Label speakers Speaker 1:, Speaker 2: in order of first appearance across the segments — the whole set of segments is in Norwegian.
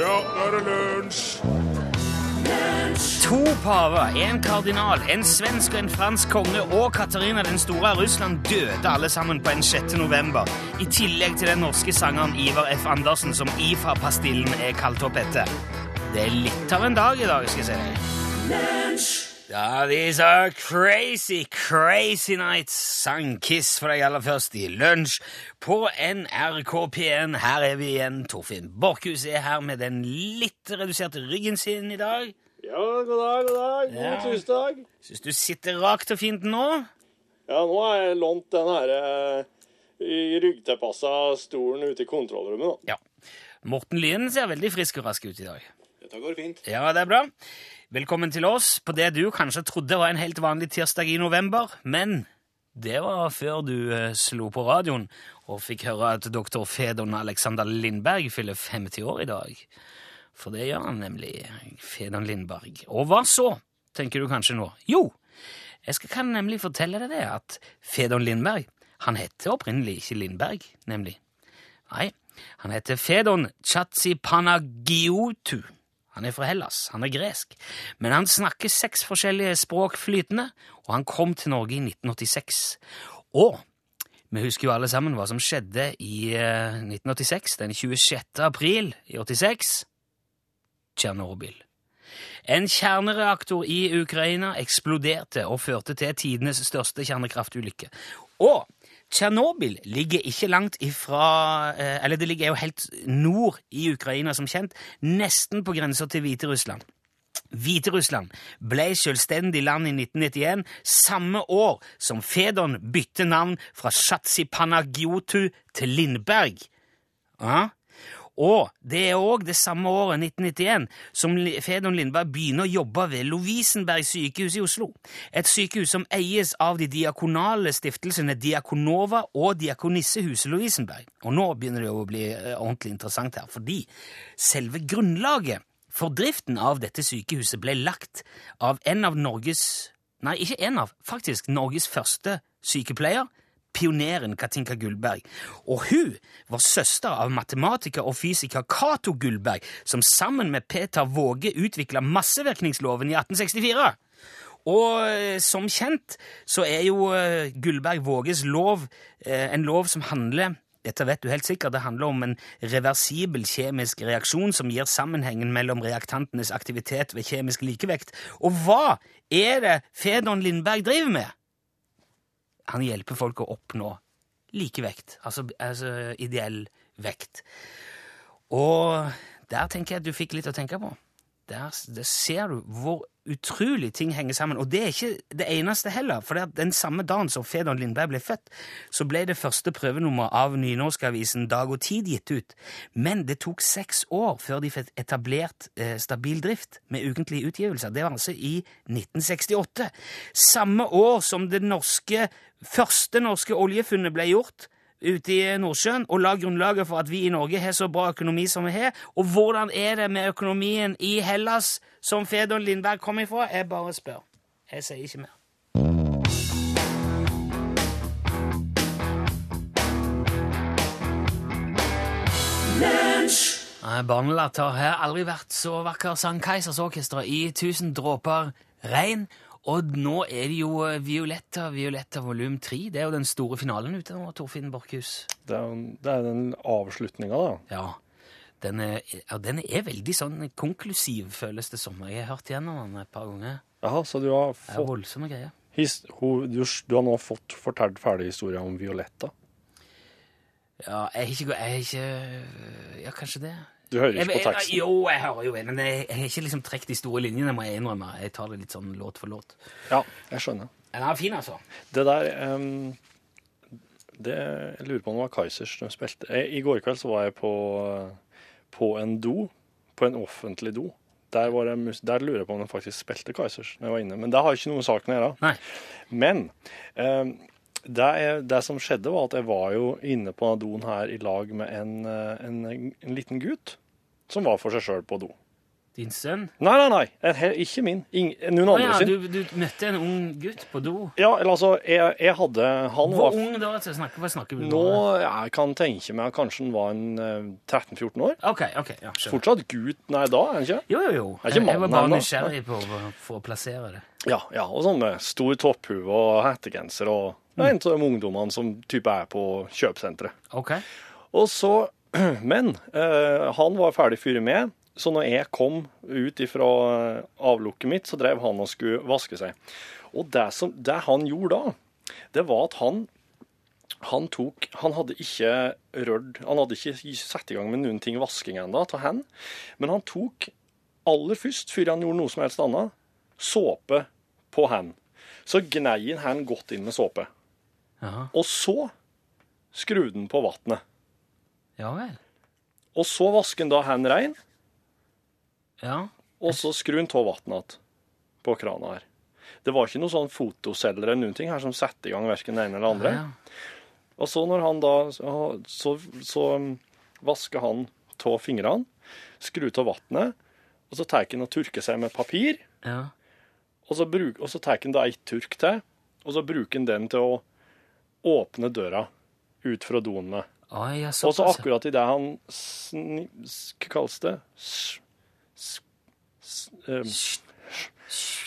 Speaker 1: Ja, nå er det lunsj!
Speaker 2: To paver, en kardinal, en svensk og en fransk konge og Katarina den store av Russland døde alle sammen på en 6. november, i tillegg til den norske sangeren Ivar F. Andersen, som IFA-pastillen er kalt opp etter. Det er litt av en dag i dag, skal jeg si deg. Ja, these are crazy, crazy nights, sang Kiss for deg aller først i lunsj på NRK P1. Her er vi igjen, Torfinn Borkhus er her med den litt reduserte ryggen sin i dag.
Speaker 1: Ja, god dag, god dag. God
Speaker 2: Ja.
Speaker 1: tirsdag.
Speaker 2: Syns du sitter rakt og fint nå?
Speaker 1: Ja, nå har jeg lånt den her eh, ryggtilpassa stolen ute i kontrollrommet,
Speaker 2: Ja. Morten Lyen ser veldig frisk og rask ut i dag.
Speaker 1: da. Dette går fint.
Speaker 2: Ja, det er bra. Velkommen til oss på det du kanskje trodde var en helt vanlig tirsdag i november, men det var før du eh, slo på radioen og fikk høre at doktor Fedon Alexander Lindberg fyller 50 år i dag. For det gjør han nemlig, Fedon Lindberg. Og hva så, tenker du kanskje nå? Jo, jeg skal, kan nemlig fortelle deg det, at Fedon Lindberg, han heter opprinnelig ikke Lindberg, nemlig. Nei, han heter Fedon Chatsipanagioutou. Han er fra Hellas, han er gresk, men han snakker seks forskjellige språk flytende, og han kom til Norge i 1986. Og vi husker jo alle sammen hva som skjedde i eh, 1986, den 26. april i 86. Tsjernobyl. En kjernereaktor i Ukraina eksploderte og førte til tidenes største kjernekraftulykke. Og Tsjernobyl ligger ikke langt ifra eh, Eller det ligger jo helt nord i Ukraina, som kjent. Nesten på grensa til Hviterussland. Hviterussland ble selvstendig land i 1991, samme år som Fedon bytte navn fra Shatsipanagioutou til Lindberg. Ja. Og det er òg det samme året, 1991, som Li- Fedon Lindberg begynner å jobbe ved Lovisenberg sykehus i Oslo. Et sykehus som eies av de diakonale stiftelsene Diakonova og Diakonissehuset Lovisenberg. Og nå begynner det jo å bli eh, ordentlig interessant her, fordi selve grunnlaget for driften av dette sykehuset ble lagt av en av Norges Nei, ikke en av, faktisk Norges første sykepleier, pioneren Katinka Gullberg. Og hun var søster av matematiker og fysiker Cato Gullberg, som sammen med Peter Våge utvikla massevirkningsloven i 1864. Og eh, som kjent så er jo eh, Gullberg Våges lov eh, en lov som handler dette vet du helt sikkert, det handler om en reversibel kjemisk reaksjon som gir sammenhengen mellom reaktantenes aktivitet ved kjemisk likevekt. Og hva er det Fedon Lindberg driver med? han hjelper folk å oppnå likevekt, altså, altså ideell vekt. Og der tenker jeg at du fikk litt å tenke på. Der, der ser du hvor utrolig ting henger sammen. Og det er ikke det eneste heller, for det at den samme dagen som Fedon Lindberg ble født, så ble det første prøvenummeret av nynorskavisen Dag og Tid gitt ut. Men det tok seks år før de fikk etablert eh, stabil drift med ukentlige utgivelser. Det var altså i 1968. Samme år som det norske, første norske oljefunnet ble gjort, ute i Nordsjøen og la grunnlaget for at vi i Norge har så bra økonomi som vi har. Og hvordan er det med økonomien i Hellas, som Fedon Lindberg kom ifra? Jeg bare spør. Jeg sier ikke mer. Nei, Barnelatter har aldri vært så vakker. Sankt Keisers Orkester i 1000 dråper regn. Og nå er det jo eh, Violetta, Violetta volum 3. Det er jo den store finalen ute nå, Torfinn Borchhus.
Speaker 1: Det er, jo- det er den avslutninga, da.
Speaker 2: Ja. Den er, ja, den er veldig sånn konklusiv, føles det som. Jeg har hørt gjennom den et par ganger.
Speaker 1: Jaha, så du har,
Speaker 2: Det er
Speaker 1: fått,
Speaker 2: voldsomme greier.
Speaker 1: his, ho, du, s- du har nå fått fortalt ferdig historia om Violetta?
Speaker 2: Ja, jeg har ikke, gå- jeg har ikke Ja, kanskje det.
Speaker 1: Du hører
Speaker 2: Jeg,
Speaker 1: ikke på
Speaker 2: jeg,
Speaker 1: teksten?
Speaker 2: jo, jeg hører jo det, men jeg, jeg har ikke liksom trukket de store linjene, må jeg innrømme. Jeg tar det litt sånn låt for låt.
Speaker 1: Ja, jeg skjønner.
Speaker 2: Men Den er fin, altså.
Speaker 1: Det der em, det, Jeg lurer på om det var Kaizers de spilte. Jeg, I går kveld så var jeg på, på en do. På en offentlig do. Der, var det mus der lurer jeg på om de faktisk spilte Kaizers når jeg var inne. Men det har ikke noe med saken å gjøre.
Speaker 2: Nei.
Speaker 1: Men em, det, er, det som skjedde, var at jeg var jo inne på denne doen her i lag med en, eh, en, en liten gutt som var for seg sjøl på do.
Speaker 2: Din sønn?
Speaker 1: Nei, nei, nei. En hel- Ikke min. Ing, noen
Speaker 2: Å
Speaker 1: andre
Speaker 2: ja,
Speaker 1: sin.
Speaker 2: du, du møtte en ung gutt på do.
Speaker 1: Ja, eller altså, jeg, jeg hadde Han
Speaker 2: Hvor
Speaker 1: var
Speaker 2: ung da? altså, Snakker, hva snakker vi
Speaker 1: Nå jeg kan tenke meg at kanskje han var en eh, 13-14 år.
Speaker 2: OK, ok, ja, skjønner.
Speaker 1: Fortsatt gutt, nei, da, er han ikke?
Speaker 2: Jo, jo, jo.
Speaker 1: Er ikke
Speaker 2: Jeg, jeg var
Speaker 1: mannen
Speaker 2: bare
Speaker 1: ennå.
Speaker 2: nysgjerrig på å få plassere det.
Speaker 1: Ja, ja, og sånn med stor topphue og hettegenser og det er en av de ungdommene som type er på kjøpesenteret.
Speaker 2: OK.
Speaker 1: Og så, Men eh, han var ferdig fyret med, så når jeg kom ut ifra eh, avlukket mitt, så drev han og skulle vaske seg. Og det, som, det han gjorde da, det var at han han tok, han hadde ikke rørt, han hadde ikke satt i gang med noen ting vasking enda, til han, men han tok aller først, før han gjorde noe som helst annet, såpe på han. Så gneien han godt inn med såpe.
Speaker 2: Jaha.
Speaker 1: Og så skrudde den på vattnet.
Speaker 2: Ja vel.
Speaker 1: Og så vasker han da han rein,
Speaker 2: Ja.
Speaker 1: og så skrur han av vannet igjen på krana her. Det var ikke noen sånn fotoceller eller noen ting her som satte i gang verken det ene eller det andre.
Speaker 2: Ja.
Speaker 1: Og så når han da Så, så vasker han av fingrene, skrur av vannet, og så tar han og tørker seg med papir,
Speaker 2: ja.
Speaker 1: og så, bruk, og så tar han da ei tørk til, og så bruker han den til å åpne døra ut fra doen med.
Speaker 2: Oi, ja,
Speaker 1: Og så
Speaker 2: såpass, ja.
Speaker 1: akkurat idet han sni... s- Hva kalles det? S, s, s, eh,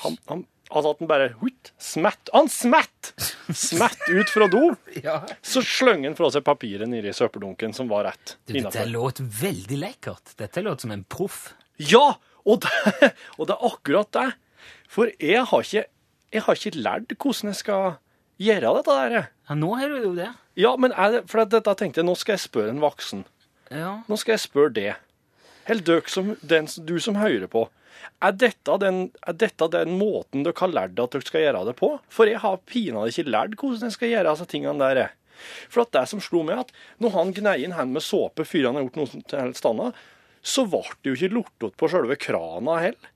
Speaker 1: han, han, altså at han bare hutt, smett, Han smett! Smett ut fra do!
Speaker 2: Ja.
Speaker 1: Så sløng han fra seg papiret nedi søppeldunken, som var rett
Speaker 2: Du, dette
Speaker 1: innenfor.
Speaker 2: låt veldig lekkert. Dette låt som en proff.
Speaker 1: Ja! Og det, og det er akkurat det. For jeg har ikke, jeg har ikke lært hvordan jeg skal gjøre dette der.
Speaker 2: Ja, nå har du jo det.
Speaker 1: Ja, men er det, for dette tenkte jeg, nå skal jeg spørre en voksen.
Speaker 2: Ja.
Speaker 1: Nå skal jeg spørre det. Helt døk som den, du som hører på. Er dette, den, er dette den måten dere har lært at dere skal gjøre det på? For jeg har pinadø ikke lært hvordan jeg skal gjøre disse tingene der. jeg. For at det som slo meg, at når han gnei inn hendene med såpe før han har gjort noe som helst annet, så ble det jo ikke lortet på sjølve krana heller.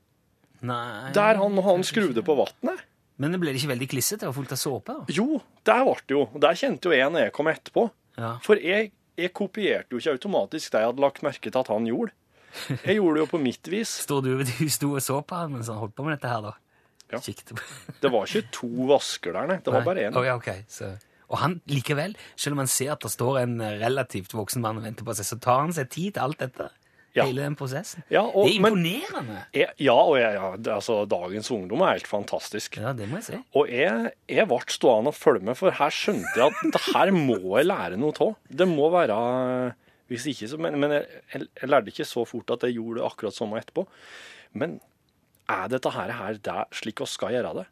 Speaker 2: Nei.
Speaker 1: Der han, når han skrudde på vannet.
Speaker 2: Men det ble ikke veldig klissete og fullt av såpe? da?
Speaker 1: Jo, der ble det jo. Der kjente jo jeg når jeg kom etterpå.
Speaker 2: Ja.
Speaker 1: For jeg, jeg kopierte jo ikke automatisk det jeg hadde lagt merke til at han gjorde. Jeg gjorde det jo på mitt vis.
Speaker 2: Står du ved du sto og så på han mens han holdt på med dette her, da?
Speaker 1: Ja.
Speaker 2: Kikket på.
Speaker 1: Det var ikke to vasker der, nei. Det var bare én.
Speaker 2: Å, ja, ok. så. Og han likevel, selv om han ser at det står en eh, relativt voksen mann og venter på seg, så tar han seg tid til alt dette?
Speaker 1: Ja.
Speaker 2: Hele den prosessen?
Speaker 1: Ja, og-
Speaker 2: det er
Speaker 1: men-
Speaker 2: imponerende!
Speaker 1: Jeg- Ja, og jeg, ja, det- altså, dagens ungdom er helt fantastisk.
Speaker 2: Ja, det må jeg si.
Speaker 1: Og jeg, jeg ble stående og følge med, for her skjønte jeg at det her må jeg lære noe av. Det må være Hvis ikke så Men, men jeg, jeg, jeg lærte ikke så fort at jeg gjorde det akkurat samme etterpå. Men er dette her, her det slik vi skal gjøre det?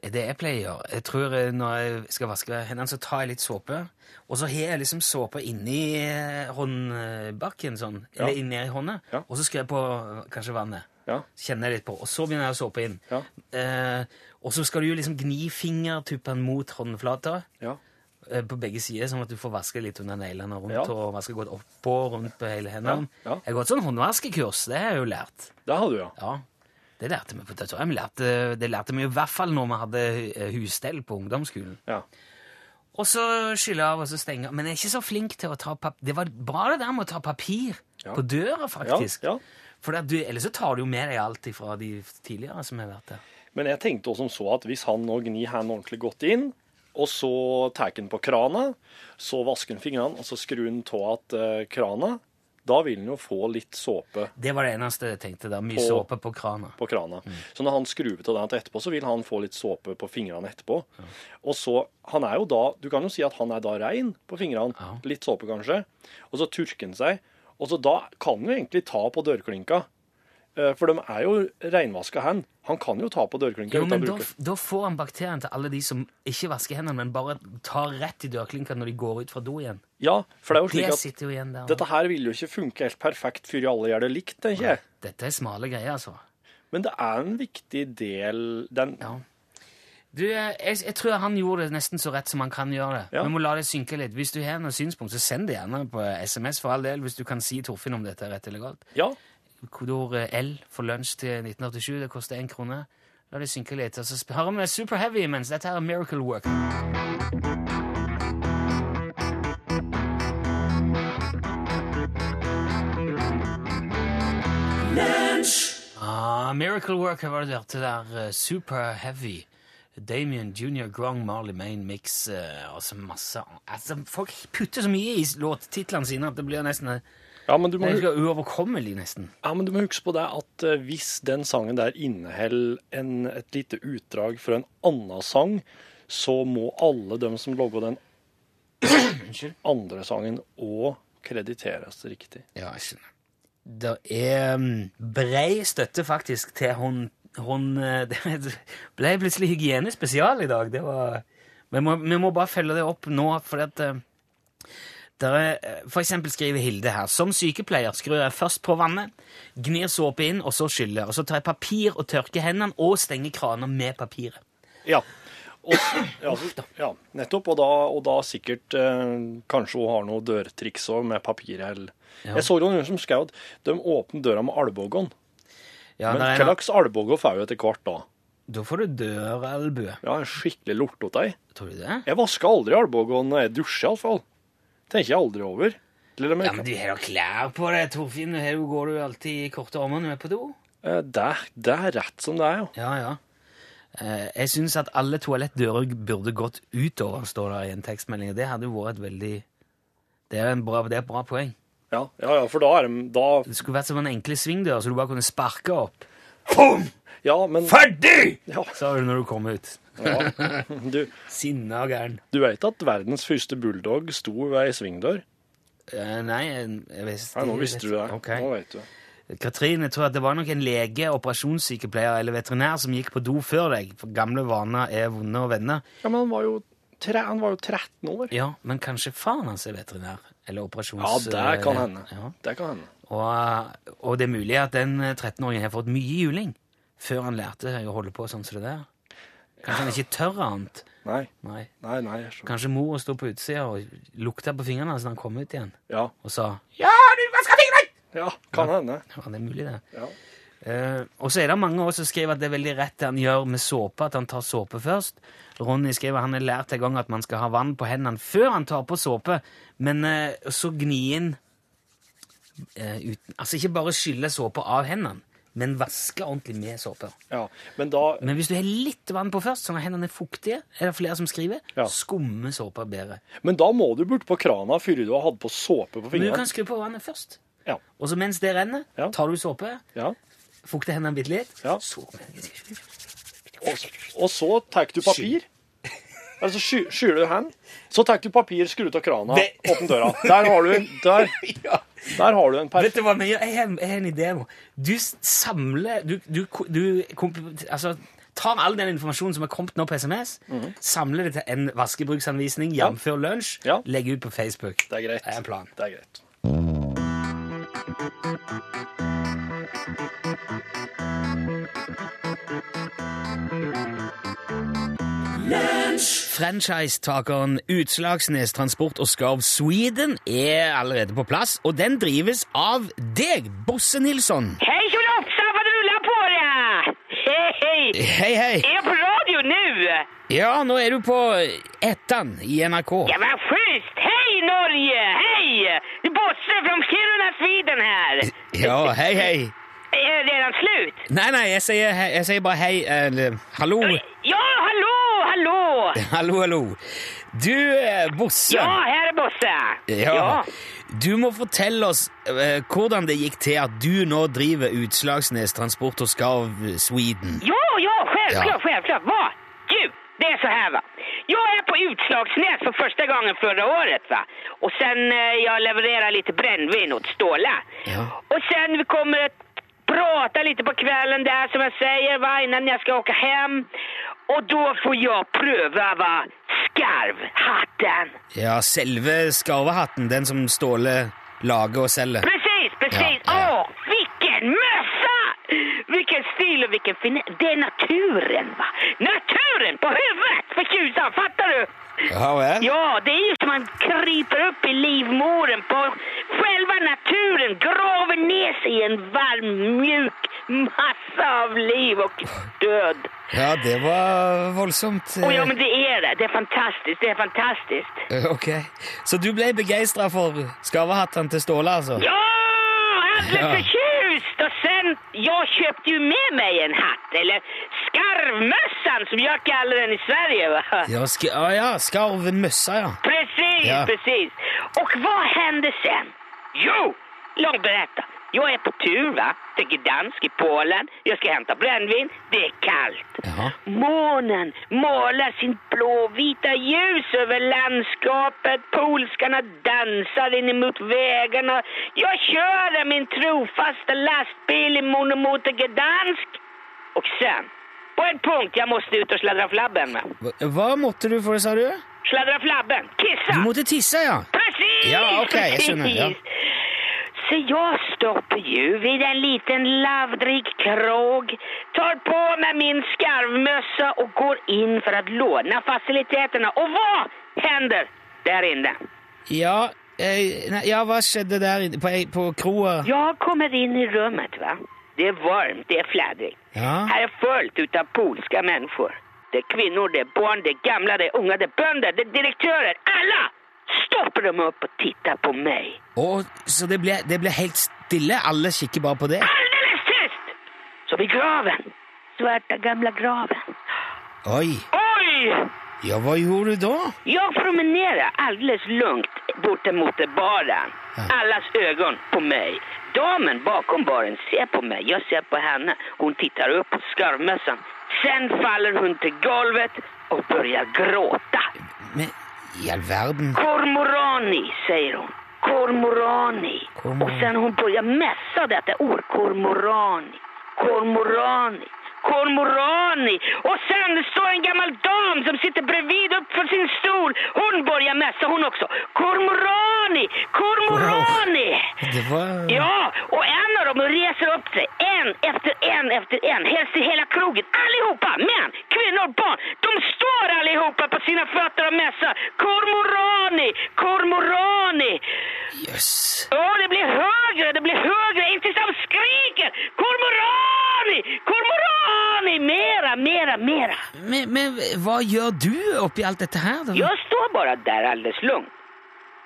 Speaker 2: Eh, Det jeg pleier å gjøre Jeg tror eh, når jeg skal vaske hendene, så tar jeg litt såpe. Og så har jeg liksom såpe inni eh, håndbaken, sånn. Eller
Speaker 1: Ja.
Speaker 2: inni i hånda.
Speaker 1: Ja.
Speaker 2: Og så skal jeg på eh, kanskje vannet.
Speaker 1: Ja.
Speaker 2: Kjenner jeg litt på. Og så begynner jeg å såpe inn.
Speaker 1: Ja.
Speaker 2: Eh, og så skal du jo liksom gni fingertuppene mot håndflata.
Speaker 1: Ja.
Speaker 2: eh, På begge sider, sånn at du får vaske litt under neglene rundt.
Speaker 1: Ja.
Speaker 2: Og vaske godt oppå rundt på hele hendene.
Speaker 1: Ja, ja.
Speaker 2: Jeg har gått sånn håndvaskekurs, det har jeg jo lært.
Speaker 1: Det hadde du, ja.
Speaker 2: Ja, det lærte vi på Tøtterheim. Lærte, det lærte vi i hvert fall når vi hadde eh, husstell på ungdomsskolen.
Speaker 1: ja.
Speaker 2: Og så skylle av og så stenge. av. Men jeg er ikke så flink til å ta papir. Det var bra det der med å ta papir
Speaker 1: Ja.
Speaker 2: på døra, faktisk.
Speaker 1: Ja, ja.
Speaker 2: For at du, ellers så tar du jo med deg alt fra de tidligere som har vært der.
Speaker 1: Men jeg tenkte også som så at hvis han nå gnir hendene ordentlig godt inn, og så tar han på krana, så vasker han fingrene, og så skrur han av at eh, krana, da vil han jo få litt såpe
Speaker 2: Det var det eneste jeg tenkte der. Mye
Speaker 1: På-
Speaker 2: såpe på krana.
Speaker 1: på krana.
Speaker 2: Mm.
Speaker 1: Så når han skrur av den til etterpå, så vil han få litt såpe på fingrene etterpå. Og så, han er jo da, du kan jo si at han er da rein på fingrene,
Speaker 2: Ja.
Speaker 1: litt såpe kanskje, og så turker han seg, og så da kan han jo egentlig ta på dørklinka, Eh, for de er jo reinvaska hen. Han kan jo ta på dørklinka
Speaker 2: Jo,
Speaker 1: uten å
Speaker 2: men da,
Speaker 1: bruke.
Speaker 2: da får han bakterien til alle de som ikke vasker hendene, men bare tar rett i dørklinka når de går ut fra do igjen.
Speaker 1: Ja, for det er jo
Speaker 2: Det
Speaker 1: slik at
Speaker 2: sitter jo igjen der.
Speaker 1: Dette her vil jo ikke funke helt perfekt før alle gjør det likt, tenker jeg.
Speaker 2: Dette er smale greier, altså.
Speaker 1: Men det er en viktig del den,
Speaker 2: Ja. Du, eh, jeg, jeg tror han gjorde det nesten så rett som han kan gjøre det.
Speaker 1: Ja.
Speaker 2: Vi må la det synke litt. Hvis du har noen synspunkt, så send det gjerne på SMS for all del, hvis du kan si Torfinn om dette er rett eller galt.
Speaker 1: ja.
Speaker 2: Kodord eh, L for lunsj til 1987, det koster én krone. La det synke litt, og så sp- hører vi Super Heavy mens dette her er Miracle Work. Ah, Miracle Worker var det du hørte der. eh, Super Heavy. Damien Junior Grong Marley Main Mix eh, og så masse an- altså, Folk putter så mye i låttitlene sine at det blir nesten eh,
Speaker 1: Ja, men du
Speaker 2: det
Speaker 1: må,
Speaker 2: er ikke uoverkommelig, nesten.
Speaker 1: ja, men du må huske på det at eh, hvis den sangen der inneholder en- et lite utdrag fra en annen sang, så må alle dem som logger den
Speaker 2: Unnskyld.
Speaker 1: andre sangen òg krediteres riktig.
Speaker 2: Ja, jeg skjønner. Det er mm, brei støtte faktisk til hun, hun eh, Det ble plutselig hygienespesial i dag. Det var, vi, må, vi må bare følge det opp nå, for at eh, der er, eh, For eksempel skriver Hilde her. Som sykepleier skrur jeg først på vannet, gnir såpe inn, og så skyller. Og så tar jeg papir og tørker hendene, og stenger kraner med papiret.
Speaker 1: Ja. Og, ja, så- ja, nettopp. Og da, og da sikkert eh, kanskje hun har noe dørtriks òg, med papir eller
Speaker 2: Ja.
Speaker 1: Jeg så jo noen som skrev at de åpner døra med albuen.
Speaker 2: Ja,
Speaker 1: men
Speaker 2: der
Speaker 1: hva
Speaker 2: er en-
Speaker 1: slags albue får jeg etter hvert da?
Speaker 2: da får du døralbue.
Speaker 1: Ja, en skikkelig lortete ei.
Speaker 2: Tror du det?
Speaker 1: Jeg vasker aldri albuen når jeg dusjer, iallfall. Tenker jeg aldri over. Til og med-
Speaker 2: Ja, men du har jo klær på deg, Torfinn. Her går du alltid i korte armer når du er på do.
Speaker 1: Eh, det, det er rett som det er, ja.
Speaker 2: Ja, ja. Eh, Jeg syns at alle toalettdører burde gått utover, står det i en tekstmelding. og Det hadde jo vært et veldig Det er, en bra, det er et bra poeng.
Speaker 1: Ja, ja, ja for da er de da,
Speaker 2: Det skulle vært som en enkle svingdør, så du bare kunne sparke opp.
Speaker 1: Ja, men
Speaker 2: Ferdig!
Speaker 1: ja,
Speaker 2: Sa du når du kom ut.
Speaker 1: ja. Du,
Speaker 2: Sinna og gæren.
Speaker 1: du veit at verdens første bulldog sto ved ei svingdør?
Speaker 2: Eh, nei, jeg, jeg visste
Speaker 1: Nei, nå visste du det.
Speaker 2: Mm, Ok.
Speaker 1: Nå vet du.
Speaker 2: Katrine tror at det var nok en lege, operasjonssykepleier eller veterinær som gikk på do før deg. For gamle vaner er vonde å vende.
Speaker 1: Ja, men han var jo, tre, han var jo 13 år.
Speaker 2: Ja, men kanskje faren hans er veterinær? Eller
Speaker 1: Ja,
Speaker 2: operasjons...
Speaker 1: det kan hende.
Speaker 2: eh, Ja.
Speaker 1: Det kan hende.
Speaker 2: Og, og det er mulig at den 13-åringen har fått mye juling før han lærte å holde på sånn som det der. Kanskje han ikke tør annet.
Speaker 1: Nei,
Speaker 2: Nei.
Speaker 1: nei, nei. Jeg skjønner.
Speaker 2: Kanskje mor sto på utsida og lukta på fingrene hans da han kom ut igjen,
Speaker 1: ja.
Speaker 2: og sa 'Ja, du vasker fingrene!'
Speaker 1: ja, kan hende.
Speaker 2: Ja, det er mulig, det.
Speaker 1: Ja.
Speaker 2: Eh, og så er det mange også som skriver at det er veldig rett det han gjør med såpe, at han tar såpe først. Ronny skriver han har lært en gang at man skal ha vann på hendene før han tar på såpe, men eh, så gni inn eh, uten, Altså ikke bare skylle såpe av hendene, men vaske ordentlig med såpe.
Speaker 1: ja. Men da
Speaker 2: Men hvis du har litt vann på først, sånn at hendene er fuktige, er det flere som skriver,
Speaker 1: Ja.
Speaker 2: skumme såpa bedre.
Speaker 1: Men da må du bort på krana før du har hatt på såpe på
Speaker 2: Men du
Speaker 1: fingrene.
Speaker 2: kan skru på vannet først.
Speaker 1: Ja.
Speaker 2: Og så mens det renner,
Speaker 1: Ja.
Speaker 2: tar du såpe,
Speaker 1: ja.
Speaker 2: fukter hendene bitte litt,
Speaker 1: Ja.
Speaker 2: så
Speaker 1: Og, og så tar du papir. Altså, sky- skyler du hen, så tar du papir, skrur ut av krana,
Speaker 2: Det-
Speaker 1: åpner døra. Der har du, der,
Speaker 2: ja.
Speaker 1: der har du en
Speaker 2: Vet
Speaker 1: perfekt
Speaker 2: du hva vi gjør? Jeg har, jeg har en idé nå. Du s- samler Du, du, ko- du komp- altså, tar all den informasjonen som er kommet nå på SMS, samler det til en vaskebruksanvisning, jf. lunsj,
Speaker 1: Mhm. Ja.
Speaker 2: legger ut på Facebook.
Speaker 1: Det er greit.
Speaker 2: Det er en plan.
Speaker 1: Det er greit.
Speaker 2: Franchisetakeren Utslagsnes Transport og Skarv Sweden er allerede på plass, og den drives av deg, Bosse Nilsson.
Speaker 3: Hej tjolofsa, vad du rullar på det! Hej, hej!
Speaker 2: Hei, hei.
Speaker 3: Är jag på radio nu?
Speaker 2: Ja, nå er du på Ettan i NRK.
Speaker 3: Ja, vad schysst! Hej Norge! Hej! Det är Bosse från Kiruna, Sweden här.
Speaker 2: Ja, hei, hei.
Speaker 3: Är det redan slut?
Speaker 2: Nei, nei, jeg sier, hei, jeg sier bare hei, eller hallo.
Speaker 3: Ja, hallå, hallå!
Speaker 2: Hallo, hallo. Du, eh, Bosse.
Speaker 3: Ja, här är Bosse.
Speaker 2: Ja. Du må fortelle oss eh, hvordan det gikk til at du nå driver Utslagsnes Transport og Skarv Sweden.
Speaker 3: Ja, ja, självklart,
Speaker 2: Ja.
Speaker 3: självklart. Va? Du, det är så här va. Jag är på Utslagsnäs för första gången förra året va. Och sen eh, jag levererar lite brännvin åt Ståla.
Speaker 2: Ja.
Speaker 3: Och sen vi kommer att prata lite på kvällen där som jag säger va, innan jag ska åka hem. Och då får jag pröva va, skarvhatten.
Speaker 2: Ja, selve skarvehatten, den som Ståle lager og selger.
Speaker 3: Precis, precis.
Speaker 2: Ja, ja.
Speaker 3: Åh, vilken mössa! Vilken stil och vilken fin... Det är naturen, va? Naturen på huvudet för tjusan, fattar du?
Speaker 2: Ja vel?
Speaker 3: Ja, det är ju som man kryper upp i livmoren på själva naturen, graver ner sig i en varm, mjuk massa av liv og død.
Speaker 2: Ja, det var voldsomt.
Speaker 3: Åh, ja, men det er det. Det er fantastisk, det er fantastisk.
Speaker 2: Eh, Ok. Så du ble begeistra for skarvehattene til Ståle, altså?
Speaker 3: Ja, jeg ble
Speaker 2: Ja.
Speaker 3: fortjust! schysst. Och sen, jag köpte ju med mig en hatt, eller skarvmössan som jag kallar den i Sverige va.
Speaker 2: Ja, sk ja, ja skarven møssa, ja.
Speaker 3: Precis,
Speaker 2: Ja.
Speaker 3: precis. Och vad hände sen? Jo, lång berätta. Jag är på tur va, till Gdansk i Polen. Jag ska hämta brännvin. Det är kallt.
Speaker 2: Jaha.
Speaker 3: Månen målar sin blåvita ljus över landskapet. Polskarna dansar in emot vägarna. Jag kör min trofasta lastbil i mon- mot Gdansk. Och sen, på en punkt, jag måste ut och sladdra flabben. va?
Speaker 2: Hva- Hva måtte du for, sa du?
Speaker 3: Sladdra flabben, kissa!
Speaker 2: Du måtte tisse, ja.
Speaker 3: Precis!
Speaker 2: Ja, okej, jag
Speaker 3: precis.
Speaker 2: känner, ja.
Speaker 3: Så jag stoppar ju vid en liten lavdrig krog, tar på mig min skarvmössa och går in för att låna faciliteterna. Och vad händer där inne?
Speaker 2: Ja, eh, nei, ja hva skjedde der inne på, på kroa?
Speaker 3: Jag kommer in i rummet, va. Det är varmt, det är fladdrigt.
Speaker 2: Ja.
Speaker 3: Här är fullt utav polska människor. Det är kvinnor, det är barn, det är gamla, det är unga, det är bönder, det är direktörer. Alla stoppar de upp og tittar på mig.
Speaker 2: Å, så det ble, det ble helt stille? Alle kikker bare på det?
Speaker 3: Alldeles tyst! Så vid graven. Svarta gamla graven.
Speaker 2: Oi.
Speaker 3: Oj!
Speaker 2: Ja, hva gjorde du da?
Speaker 3: Jag promenerar alldeles lugnt bort emot baren. Allas ögon på mig. Damen bakom baren ser på mig. Jag ser på henne. Hon tittar upp på skarvmössan. Sen faller hon till golvet och börjar gråta.
Speaker 2: Men i all verden
Speaker 3: Kormorani, säger hon. Kormorani.
Speaker 2: Kormorani.
Speaker 3: Och sen hon börjar mässa detta ord. Kormorani. Kormorani. Kormorani. Och sen står en gammal dam som sitter bredvid upp för sin stol. Hon börjar mässa hon också. Kormorani. Kormorani.
Speaker 2: Det var
Speaker 3: Ja, och en av dem reser upp sig, en efter en efter en, helst i hela krogen. Allihopa, män, kvinnor, barn. De står allihopa på sina fötter och mässar. Kormorani, kormorani.
Speaker 2: Jøss.
Speaker 3: Åh, det blir högre, det blir högre, inte som skriker. Kormorani, kormorani. Mera, mera, mera.
Speaker 2: Men, men hva gjør du oppi alt dette her? da?
Speaker 3: Jag står bara där alldeles lugnt.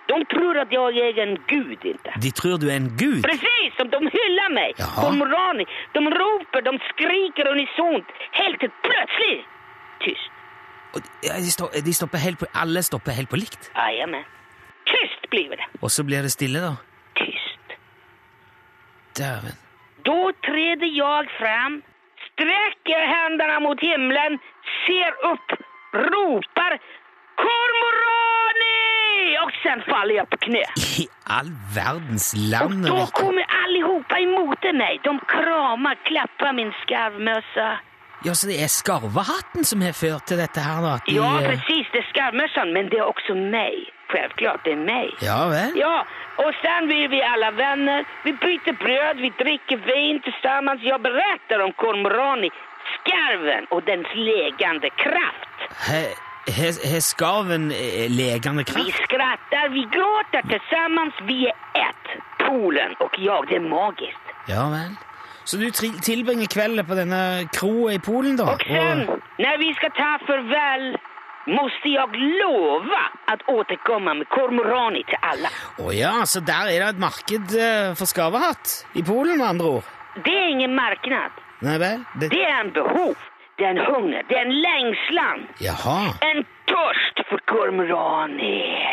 Speaker 3: De tror att jag är en gud inte.
Speaker 2: De tror du er en gud?
Speaker 3: Precis som de hyllar mig!
Speaker 2: Jaha.
Speaker 3: Kormorani. De ropar, de skriker unisont. Helt plötsligt tyst.
Speaker 2: Og de- ja, De, står, de stopper helt på, alle stopper helt på likt?
Speaker 3: Jajamän. Tyst blir det.
Speaker 2: Og så blir det stille, da?
Speaker 3: Tyst.
Speaker 2: Dæven.
Speaker 3: Då träder jag fram, sträcker händerna mot himlen, ser upp, ropar Kormorani! Och sen faller jag på knä.
Speaker 2: I all verdens
Speaker 3: Och
Speaker 2: land og
Speaker 3: då
Speaker 2: rike.
Speaker 3: kommer allihopa emot mig. De kramar, klappar min skarvmössa.
Speaker 2: Ja, så det er skarvehatten som har ført til dette her, da? At de,
Speaker 3: Ja,
Speaker 2: eh,
Speaker 3: precis. Det är skarvmössan, men det är också mig. Självklart, det är mig.
Speaker 2: Ja vel?
Speaker 3: Ja, och sen blir vi alla vänner. Vi byter bröd, vi dricker vin tillsammans. Jag berättar om kormorani, skarven og dens legande kraft.
Speaker 2: He- he- Har skarven eh, legende
Speaker 3: Vi
Speaker 2: kraft?
Speaker 3: skrattar, vi gråter tillsammans. Vi är ett. Polen och jag, det är magiskt.
Speaker 2: Ja vel. Så du tri- tilbringer kvelden på denne kroa i Polen, da?
Speaker 3: Och sen, när vi ska ta farväl, måste jag lova att återkomma med kormorani till alla.
Speaker 2: Å ja, så der er det et marked eh, for skarvehatt? I Polen, med andre ord?
Speaker 3: Det är ingen marknad.
Speaker 2: Nei vel? Det...
Speaker 3: Det är en behov, det är en hunger, det är en längslan.
Speaker 2: Jaha.
Speaker 3: En törst för kormorani.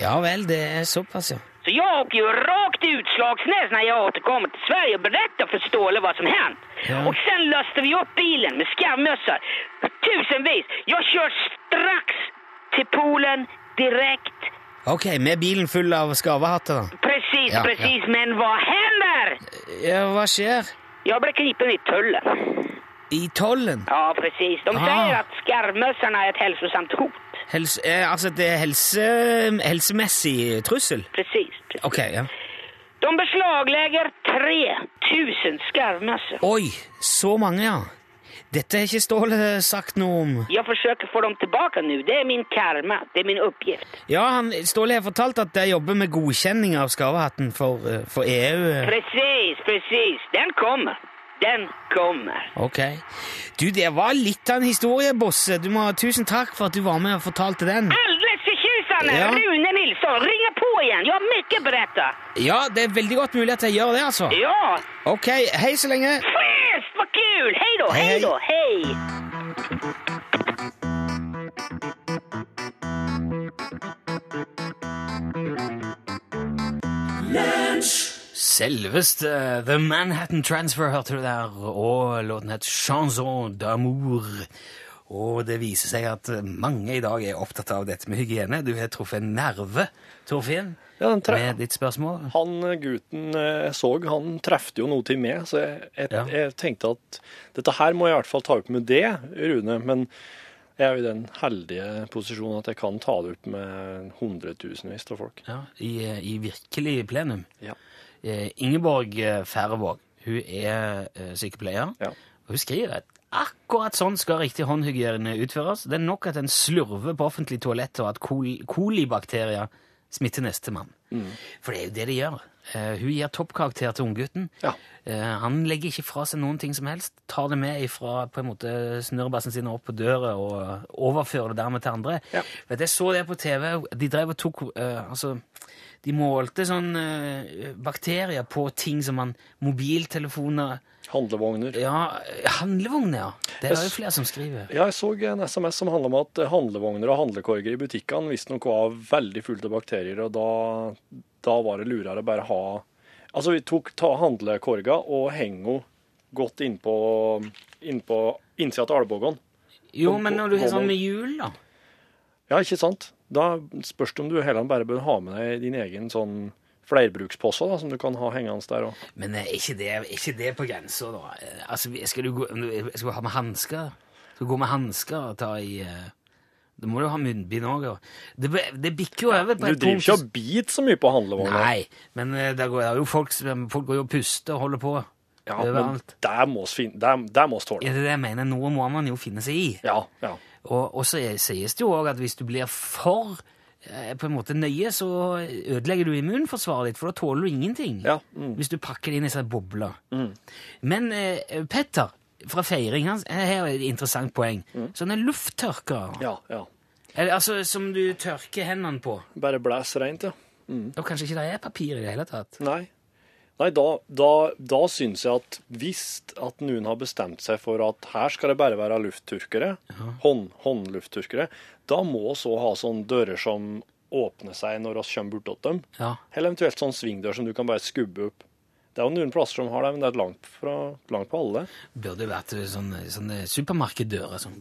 Speaker 2: Ja vel, det er såpass, ja.
Speaker 3: Så jag åker ju rakt i utslagsnäs när jag återkommer till Sverige och berättar för Ståle vad som hänt.
Speaker 2: Ja.
Speaker 3: Och sen lastar vi upp bilen med skamössar. Tusenvis. Jag kör strax till poolen direkt.
Speaker 2: Ok, med bilen full av skarvehatter, da.
Speaker 3: Precis,
Speaker 2: Ja,
Speaker 3: precis. Men vad händer?
Speaker 2: Ja, hva skjer?
Speaker 3: Jag blir gripen i tullen.
Speaker 2: I tollen?
Speaker 3: Ja, precis. De
Speaker 2: Ah.
Speaker 3: säger att skarvmössorna är ett hälsosamt hot.
Speaker 2: Helse, eh, altså, det er helse, helsemessig trussel?
Speaker 3: Precis. precis.
Speaker 2: Ok, ja.
Speaker 3: De beslaglägger 3000 skarvmössor.
Speaker 2: Oi, så mange, ja. Dette har ikke Ståle sagt noe om.
Speaker 3: Jag försöker få dem tillbaka nu. Det är min karma. Det är min uppgift.
Speaker 2: Ja, han, Ståle har fortalt at de jobber med godkjenning av skarvehatten for, eh, for EU. eh.
Speaker 3: Precis, precis. Den kommer. Den kommer.
Speaker 2: Ok. Du, det var litt av en historie, Bosse. Du må, tusen takk for at du var med og fortalte den.
Speaker 3: Alldeles förtjusande! Nilsson här!
Speaker 2: Ja.
Speaker 3: Rune Nilsson! Ring på igen! Jag har mycket att berätta!
Speaker 2: Ja, det er veldig godt mulig at jeg gjør det, altså.
Speaker 3: Ja!
Speaker 2: Ok, hei så lenge.
Speaker 3: Fest! Vad kul! Hej då!
Speaker 2: Hej,
Speaker 3: Hej då! Hej!
Speaker 2: Selveste eh, The Manhattan Transfer hørte du der, og låten het Chanson d'amour. Og det viser seg at mange i dag er opptatt av dette med hygiene. Du har truffet en nerve, Torfinn,
Speaker 1: Ja, den tre-
Speaker 2: med ditt spørsmål.
Speaker 1: Han eh, gutten eh, jeg så, han trefte jo noe til meg, så jeg, jeg,
Speaker 2: Ja.
Speaker 1: jeg tenkte at dette her må jeg i hvert fall ta opp med det, Rune. Men jeg er jo i den heldige posisjonen at jeg kan ta det opp med hundretusenvis av folk.
Speaker 2: Ja, i, eh, I virkelig plenum.
Speaker 1: Ja.
Speaker 2: Eh, Ingeborg eh, Færvåg, hun er eh, sykepleier.
Speaker 1: Ja.
Speaker 2: Og hun skriver at akkurat sånn skal riktig håndhygiene utføres. Det er nok at en slurver på offentlig toalett, og at kol kolibakterier smitter nestemann.
Speaker 1: Mm.
Speaker 2: For det er jo det de gjør. Eh, hun gir toppkarakter til unggutten.
Speaker 1: Ja.
Speaker 2: Eh, han legger ikke fra seg noen ting som helst. Tar det med ifra på en måte snørrebassen sin opp på døra og overfører det dermed til andre.
Speaker 1: Ja.
Speaker 2: Vet du, jeg så det på TV. De drev og tok eh, Altså, de målte sånn eh, bakterier på ting som man Mobiltelefoner
Speaker 1: Handlevogner.
Speaker 2: ja, handlevogner, ja. Det er det
Speaker 1: Jeg
Speaker 2: jo
Speaker 1: s-
Speaker 2: flere som skriver.
Speaker 1: Ja, jeg så en SMS som handla om at handlevogner og handlekorger i butikkene visstnok var veldig fullt av bakterier, og da, da var det lurere å bare ha Altså, vi tok ta handlekorga og henge henne godt innpå inn innsida av albuen.
Speaker 2: Jo,
Speaker 1: Kom
Speaker 2: men
Speaker 1: på-
Speaker 2: når du har
Speaker 1: må
Speaker 2: sånn
Speaker 1: man-
Speaker 2: med jul, da.
Speaker 1: Ja, ikke sant? Da spørs det om du heller bare bør ha med deg din egen sånn flerbrukspose, da, som du kan ha hengende der òg.
Speaker 2: Men eh, er ikke det, er ikke det på grensa, da? Eh, Altså, vi- skal du, gå, om du- skal du ha med hansker? Skal du gå med hansker og ta i eh, Da må du ha munnbind òg. Det, be- det bikker jo over
Speaker 1: Du
Speaker 2: på et
Speaker 1: driver ikke
Speaker 2: punkt.
Speaker 1: og biter så mye på handlevogna.
Speaker 2: Nei, men eh, der går, det er jo folk, som- folk går jo og puster og holder på
Speaker 1: ja, men
Speaker 2: overalt.
Speaker 1: der må vi finne Der, der må vi
Speaker 2: Ja,
Speaker 1: tåle.
Speaker 2: det er det jeg mener. Noe må man jo finne seg i.
Speaker 1: Ja, ja.
Speaker 2: Og, og så er- sies det jo òg at hvis du blir for eh, på en måte nøye, så ødelegger du immunforsvaret ditt, for da tåler du ingenting.
Speaker 1: Ja, mm.
Speaker 2: Hvis du pakker det inn i sånne bobler. Men eh, Petter fra Feiring hans eh, her er et interessant poeng. Sånne lufttørkere,
Speaker 1: Mm. ja, ja.
Speaker 2: eller, altså, som du tørker hendene på.
Speaker 1: Bare blæs reint, ja.
Speaker 2: Og kanskje ikke det er papir i det hele tatt.
Speaker 1: Nei. Nei, da, da, da syns jeg at hvis at noen har bestemt seg for at her skal det bare være lufttørkere, hånd, håndlufttørkere, da må så ha sånne dører som åpner seg når vi kommer bortåt dem.
Speaker 2: Ja.
Speaker 1: Eller eventuelt sånn svingdør som du kan bare skubbe opp. Det er jo noen plasser som har det, men det er langt, fra, langt på alle.
Speaker 2: Burde jo vært eh, sånne, sånne supermarkeddører. Sånn,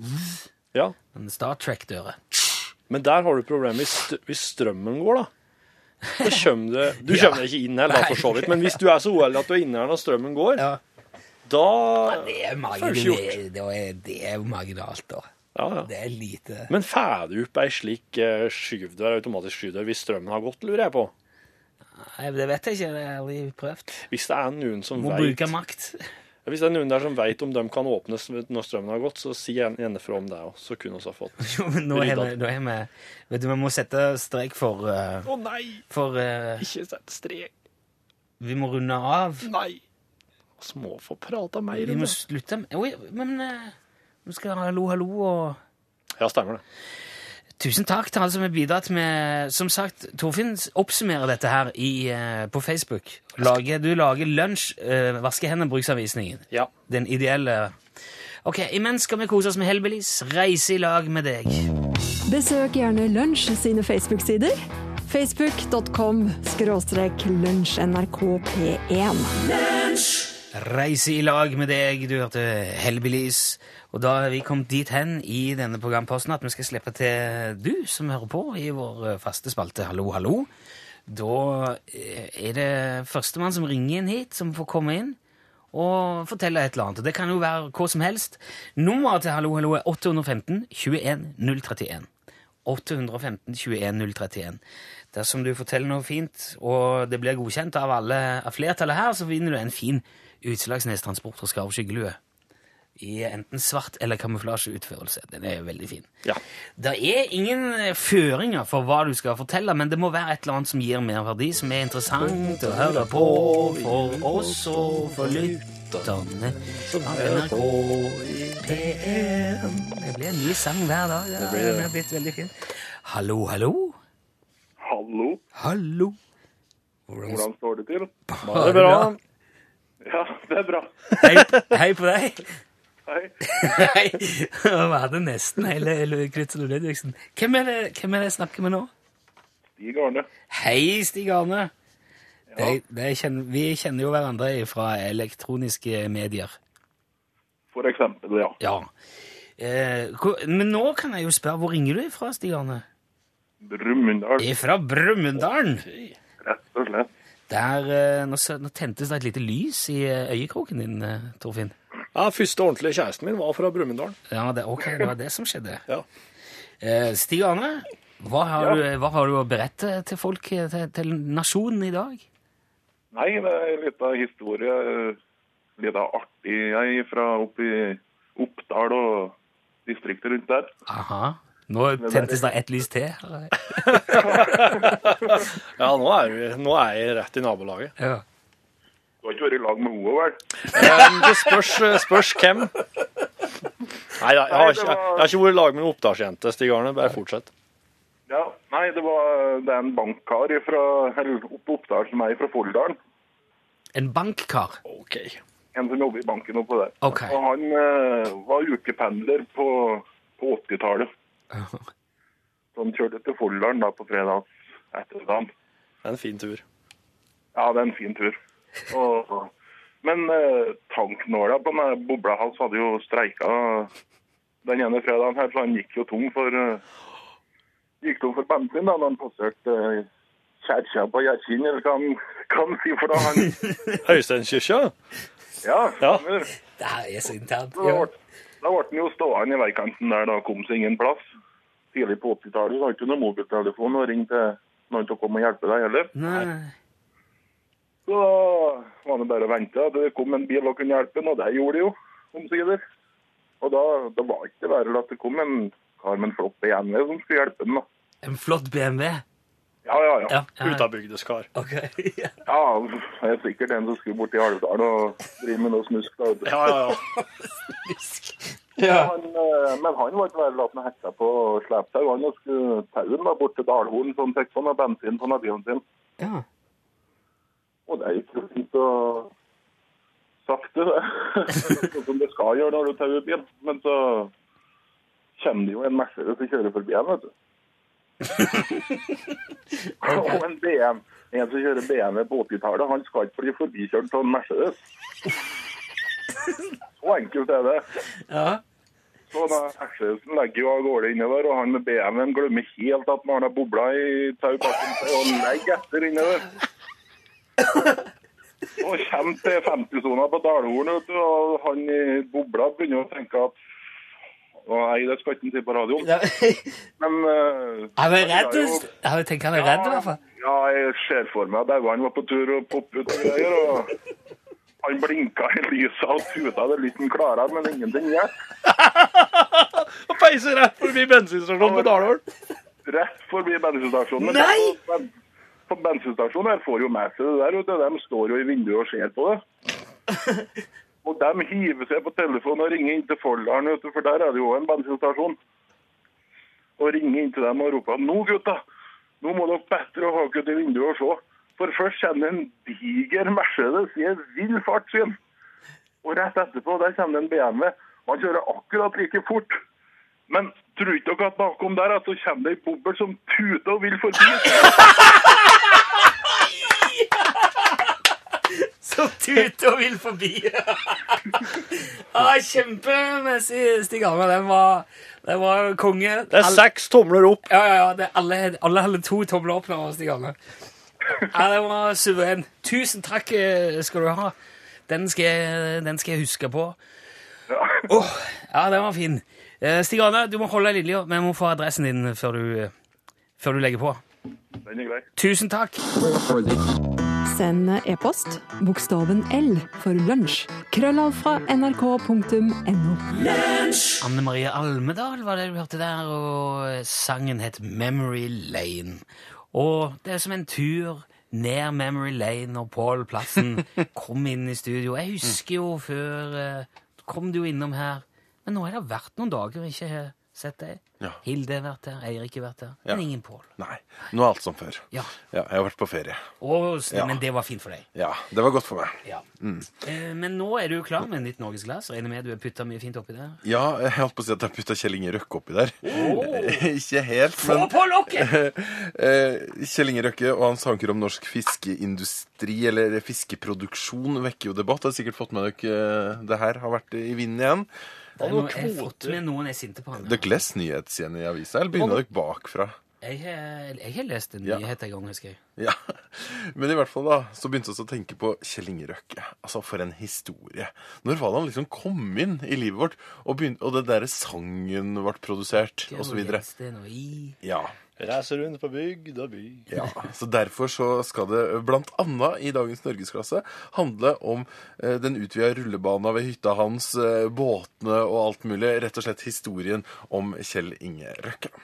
Speaker 1: Ja,
Speaker 2: sånne Star Trek-dører.
Speaker 1: Men der har du problemet hvis, st- hvis strømmen går, da. Da kommer det, du
Speaker 2: Ja.
Speaker 1: kommer deg ikke inn her, da, for så vidt. Men hvis du er så uheldig at du er inne her når strømmen går,
Speaker 2: Ja.
Speaker 1: da
Speaker 2: Det er
Speaker 1: Får du
Speaker 2: marginalt,
Speaker 1: ikke gjort.
Speaker 2: det er, det er marginalt da.
Speaker 1: ja, ja.
Speaker 2: Det er lite
Speaker 1: Men får du opp ei slik eh, skyvdør, automatisk skyvdør hvis strømmen har gått, lurer jeg på.
Speaker 2: Nei, Det vet jeg ikke, det har jeg aldri prøvd.
Speaker 1: Hvis det er noen som
Speaker 2: Må
Speaker 1: vet,
Speaker 2: bruke makt.
Speaker 1: Hvis det er noen der som vet om de kan åpnes når strømmen har gått, så si gjerne gjerne fra om det òg, så kunne vi ha fått Å
Speaker 2: Jo, men nå er
Speaker 1: Rydda
Speaker 2: vi, nå er vi Vet du, vi må sette strek for eh,
Speaker 1: nei!
Speaker 2: For eh,
Speaker 1: Ikke sett strek.
Speaker 2: vi må runde av.
Speaker 1: Nei! Vi må få prata mer
Speaker 2: Vi
Speaker 1: om
Speaker 2: må
Speaker 1: det.
Speaker 2: slutte med Oi, men eh, vi skal ha hallo, hallo og
Speaker 1: Ja, stemmer det.
Speaker 2: Tusen takk til alle som har bidratt med Som sagt, Torfinn oppsummerer dette her i, eh, på Facebook. Lager, du lager lunsj, uh, vaske hendene, bruksanvisningen.
Speaker 1: Ja.
Speaker 2: Den ideelle Ok, imens skal vi kose oss med Hellbillies. Reise i lag med deg.
Speaker 4: Besøk gjerne Lunsj sine Facebook-sider. Facebook.com skråstrek lunsjnrkp1.
Speaker 2: Reise i lag med deg, du hørte Hellbillies. Og da er vi kommet dit hen i denne programposten at vi skal slippe til du som hører på i vår eh, faste spalte Hallo, hallo. Da eh, er det førstemann som ringer inn hit, som får komme inn og fortelle et eller annet. Og det kan jo være hva som helst. Nummeret til Hallo, hallo er 815 21 031. 815 21 031. Dersom du forteller noe fint, og det blir godkjent av, alle, av flertallet her, så vinner du en fin Utslagsnestransport og skarv skyggelue. I enten svart eller kamuflasjeutførelse. Den er jo veldig fin.
Speaker 1: Ja.
Speaker 2: Det er ingen eh, føringer for hva du skal fortelle, men det må være et eller annet som gir merverdi, som er interessant å høre på for oss og for lytterne av NRK P1. Det blir en ny sang hver dag. Ja, den er blitt veldig fin. Hallo, hallo.
Speaker 5: Hallo,
Speaker 2: Hallo! Hvordan
Speaker 5: hvordan står det til?
Speaker 1: Det er bra.
Speaker 5: Ja, det er bra.
Speaker 2: Hei, hei på deg.
Speaker 5: Hei.
Speaker 2: Hei. Vi hadde nesten hele Kritzel og Ludvigsen. Hvem er det hvem er det jeg snakker med nå?
Speaker 5: Stig Arne.
Speaker 2: Hei, Stig Arne. Det, det kjenner, vi kjenner jo hverandre fra elektroniske medier.
Speaker 5: For eksempel, ja.
Speaker 2: Ja. Eh, hvor, men nå kan jeg jo spørre, hvor ringer du ifra, Stig Arne?
Speaker 5: Brumunddal,
Speaker 2: Ifra Brumunddal.
Speaker 5: rett og slett.
Speaker 2: Der, eh, nå, sø- nå tentes det et lite lys i eh, øyekroken din, eh, Torfinn.
Speaker 1: Ja, første ordentlige kjæresten min var fra Brumunddal.
Speaker 2: Ja, det, ok, det var det som skjedde.
Speaker 1: Ja.
Speaker 2: Eh, Stig Arne, hva har, du, hva har du å berette til folk, eh, til, til nasjonen i dag?
Speaker 5: Nei, det er litt av historie. eh, Litt av artig jeg er fra oppi Oppdal og distriktet rundt der.
Speaker 2: Aha. Nå tentes det et lys til.
Speaker 1: Ja, nå er, vi, nå er jeg rett i nabolaget.
Speaker 2: Ja.
Speaker 5: Du har ikke vært i lag med henne, vel?
Speaker 1: Men det spørs, eh, spørs hvem. Nei, jeg har ikke, jeg har ikke vært i lag med noen oppdragsjente, Stig Arne. Bare fortsett.
Speaker 5: Ja, nei, det, var, det er en bankkar fra, eller oppe i Oppdal som er fra Folldalen.
Speaker 2: En bankkar.
Speaker 1: OK.
Speaker 5: En som jobber i banken oppe der.
Speaker 2: Ok.
Speaker 5: Og han eh, var ukependler på, på 80-tallet. Så han kjørte til Folldalen da på fredags ettermiddag.
Speaker 1: Det er en fin tur.
Speaker 5: Ja, det er en fin tur. Og, men eh, tanknåla på denne bobla hans hadde jo streika den ene fredagen her, så han gikk jo tom for eh, gikk tom for bensin da når han passerte eh, kjerkja på Gjerkinn, eller hva han kan si for da han
Speaker 1: Høysteinkirka?
Speaker 5: Ja,
Speaker 1: Ja.
Speaker 5: stemmer.
Speaker 2: Det her er så internt.
Speaker 5: Da ble da ble han jo stående i veikanten der, da kom seg ingen plass. Tidlig på 80-tallet så hadde han ikke noen mobiltelefon og ringte noen til å komme og hjelpe deg heller.
Speaker 2: Nei.
Speaker 5: Så var det bare å vente at det kom en bil og kunne hjelpe ham, og det gjorde det jo, omsider. Og da, da var det ikke verre at det kom en kar med en flott BMW som skulle hjelpe ham, da.
Speaker 2: En flott BMW.
Speaker 5: Ja, ja, ja.
Speaker 2: Ja. ja.
Speaker 1: Utabygdeskar.
Speaker 2: Ok. Ja.
Speaker 5: Ja, det er sikkert en som skulle bort til Alvdal og drive med noe snusk. Da. vet du.
Speaker 1: Ja, ja, ja.
Speaker 5: Han, eh, men han var ikke verre at han hekta på og slepte seg. Han og skulle tauen da, bort til Dalholen, så han fikk sånn av bensin på bilen sin.
Speaker 2: Ja.
Speaker 5: Og det gikk jo fint og sakte, det. Sånn som det skal gjøre når du tar ut bil. Men så kommer det jo en Mercedes som kjører forbi en, vet du. Og en BM. En som kjører BMW på 80-tallet, han skal ikke bli forbikjørt av en Mercedes. Så enkelt er det.
Speaker 2: Ja.
Speaker 5: Så da Mercedesen legger jo av gårde innover, og han med BMW-en glemmer helt at han har bobla i tau bakom seg, og legger etter innover. Og kommer til 50-sona på Dalhorn, vet du, og han i bobla begynner å tenke at «Å, Nei, det skal ikke han si på radioen, men eh,
Speaker 2: Han er
Speaker 5: han
Speaker 2: redd.
Speaker 5: har jo-
Speaker 2: Jeg tenker han er redd, i hvert fall.
Speaker 5: ja, jeg ser for meg at Dauan var på tur og poppet ut greier, og han blinka i lyset og tuta det litt han klarte, men ingenting hjalp.
Speaker 1: Og peiser rett forbi bensinstasjonen på Dalhorn.
Speaker 5: rett forbi bensinstasjonen. Men
Speaker 2: Nei!
Speaker 5: på ben- På bensinstasjonen her får jo med seg det der. vet du. De står jo i vinduet og ser på det. Og de hiver seg på telefonen og ringer inn til Folldalen, vet du, for der er det jo også en bensinstasjon. Og ringer inn til dem og roper nå, gutta, nå må dere bedre hake ut i vinduet og se. For først kommer det en diger Mercedes i en vill fart, sier han. Og rett etterpå der kommer det en BMW. Han kjører akkurat like fort. Men tror ikke dere at bakom der at så kommer det ei bobbel som tuter og vil forbi?
Speaker 2: Som tute og vil forbi. ah, kjempemessig, Stig Arne. Den var, den var konge.
Speaker 1: Det er
Speaker 2: Alle-
Speaker 1: seks tomler opp.
Speaker 2: Ja, ja, ja. Det, alle, alle hadde to tomler opp nå, Stig Arne. Ja, den var suveren. Tusen takk eh, skal du ha. Den skal, jeg- den skal jeg huske på. Åh, ja, den var fin. Eh, Stig Arne, du må holde deg i linja. Vi må få adressen din før du, eh, før du legger på.
Speaker 5: Den er grei.
Speaker 2: Tusen takk.
Speaker 4: Send e-post bokstaven L for lunsj. Krøllav fra nrk.no.
Speaker 2: Anne Marie Almedal var det du hørte der,
Speaker 6: eh,
Speaker 2: og sangen het Memory Lane. Og det er som en tur ned Memory Lane når Pål Plassen kom inn i studio. Jeg husker jo før eh, Kom du jo innom her? Men nå har det vært noen dager vi ikke har
Speaker 6: Sett deg.
Speaker 7: Ja.
Speaker 6: Hilde har vært der, Eirik har vært der,
Speaker 7: Ja.
Speaker 6: men ingen Pål.
Speaker 7: Nei, nå er alt som før.
Speaker 6: Ja.
Speaker 7: jeg har vært på ferie.
Speaker 6: Å,
Speaker 7: Ja. Mm.
Speaker 6: Men det var fint for deg.
Speaker 7: Ja, det var godt for meg.
Speaker 6: Ja. Eh, men nå er du klar med ditt norgesglass. Regner med du har putta mye fint oppi der.
Speaker 7: Ja, jeg holdt på å si at jeg putta Kjell Inge Røkke oppi der. Ikke helt,
Speaker 6: Få
Speaker 7: men
Speaker 6: på lokket!
Speaker 7: eh, Kjell Inge Røkke og hans tanker om norsk fiskeindustri eller fiskeproduksjon vekker jo debatt. Har sikkert fått med dere eh, det her har vært i vinden igjen.
Speaker 6: Det er
Speaker 1: noen
Speaker 6: noe- Jeg har fått
Speaker 1: kvoter.
Speaker 6: med noen jeg er sinte på. han.
Speaker 7: Dere leser nyhetssiden i avisa, eller begynner dere bakfra?
Speaker 6: Jeg, har- jeg har lest en
Speaker 7: Ja.
Speaker 6: nyhet en gang, husker jeg.
Speaker 7: Ja, Men i hvert fall da, så begynte vi å tenke på Kjell Inge Røkke. Altså, For en historie. Når var det han liksom kom inn i livet vårt, og, begynte, og den derre sangen ble produsert, osv.?
Speaker 6: Det er noe i.
Speaker 7: Ja.
Speaker 1: Reiser rundt på bygd og by.
Speaker 7: ja. Så derfor så skal det blant annet i dagens norgesklasse handle om eh, den utvida rullebana ved hytta hans, eh, båtene og alt mulig. Rett og slett historien om Kjell Inge Røkke.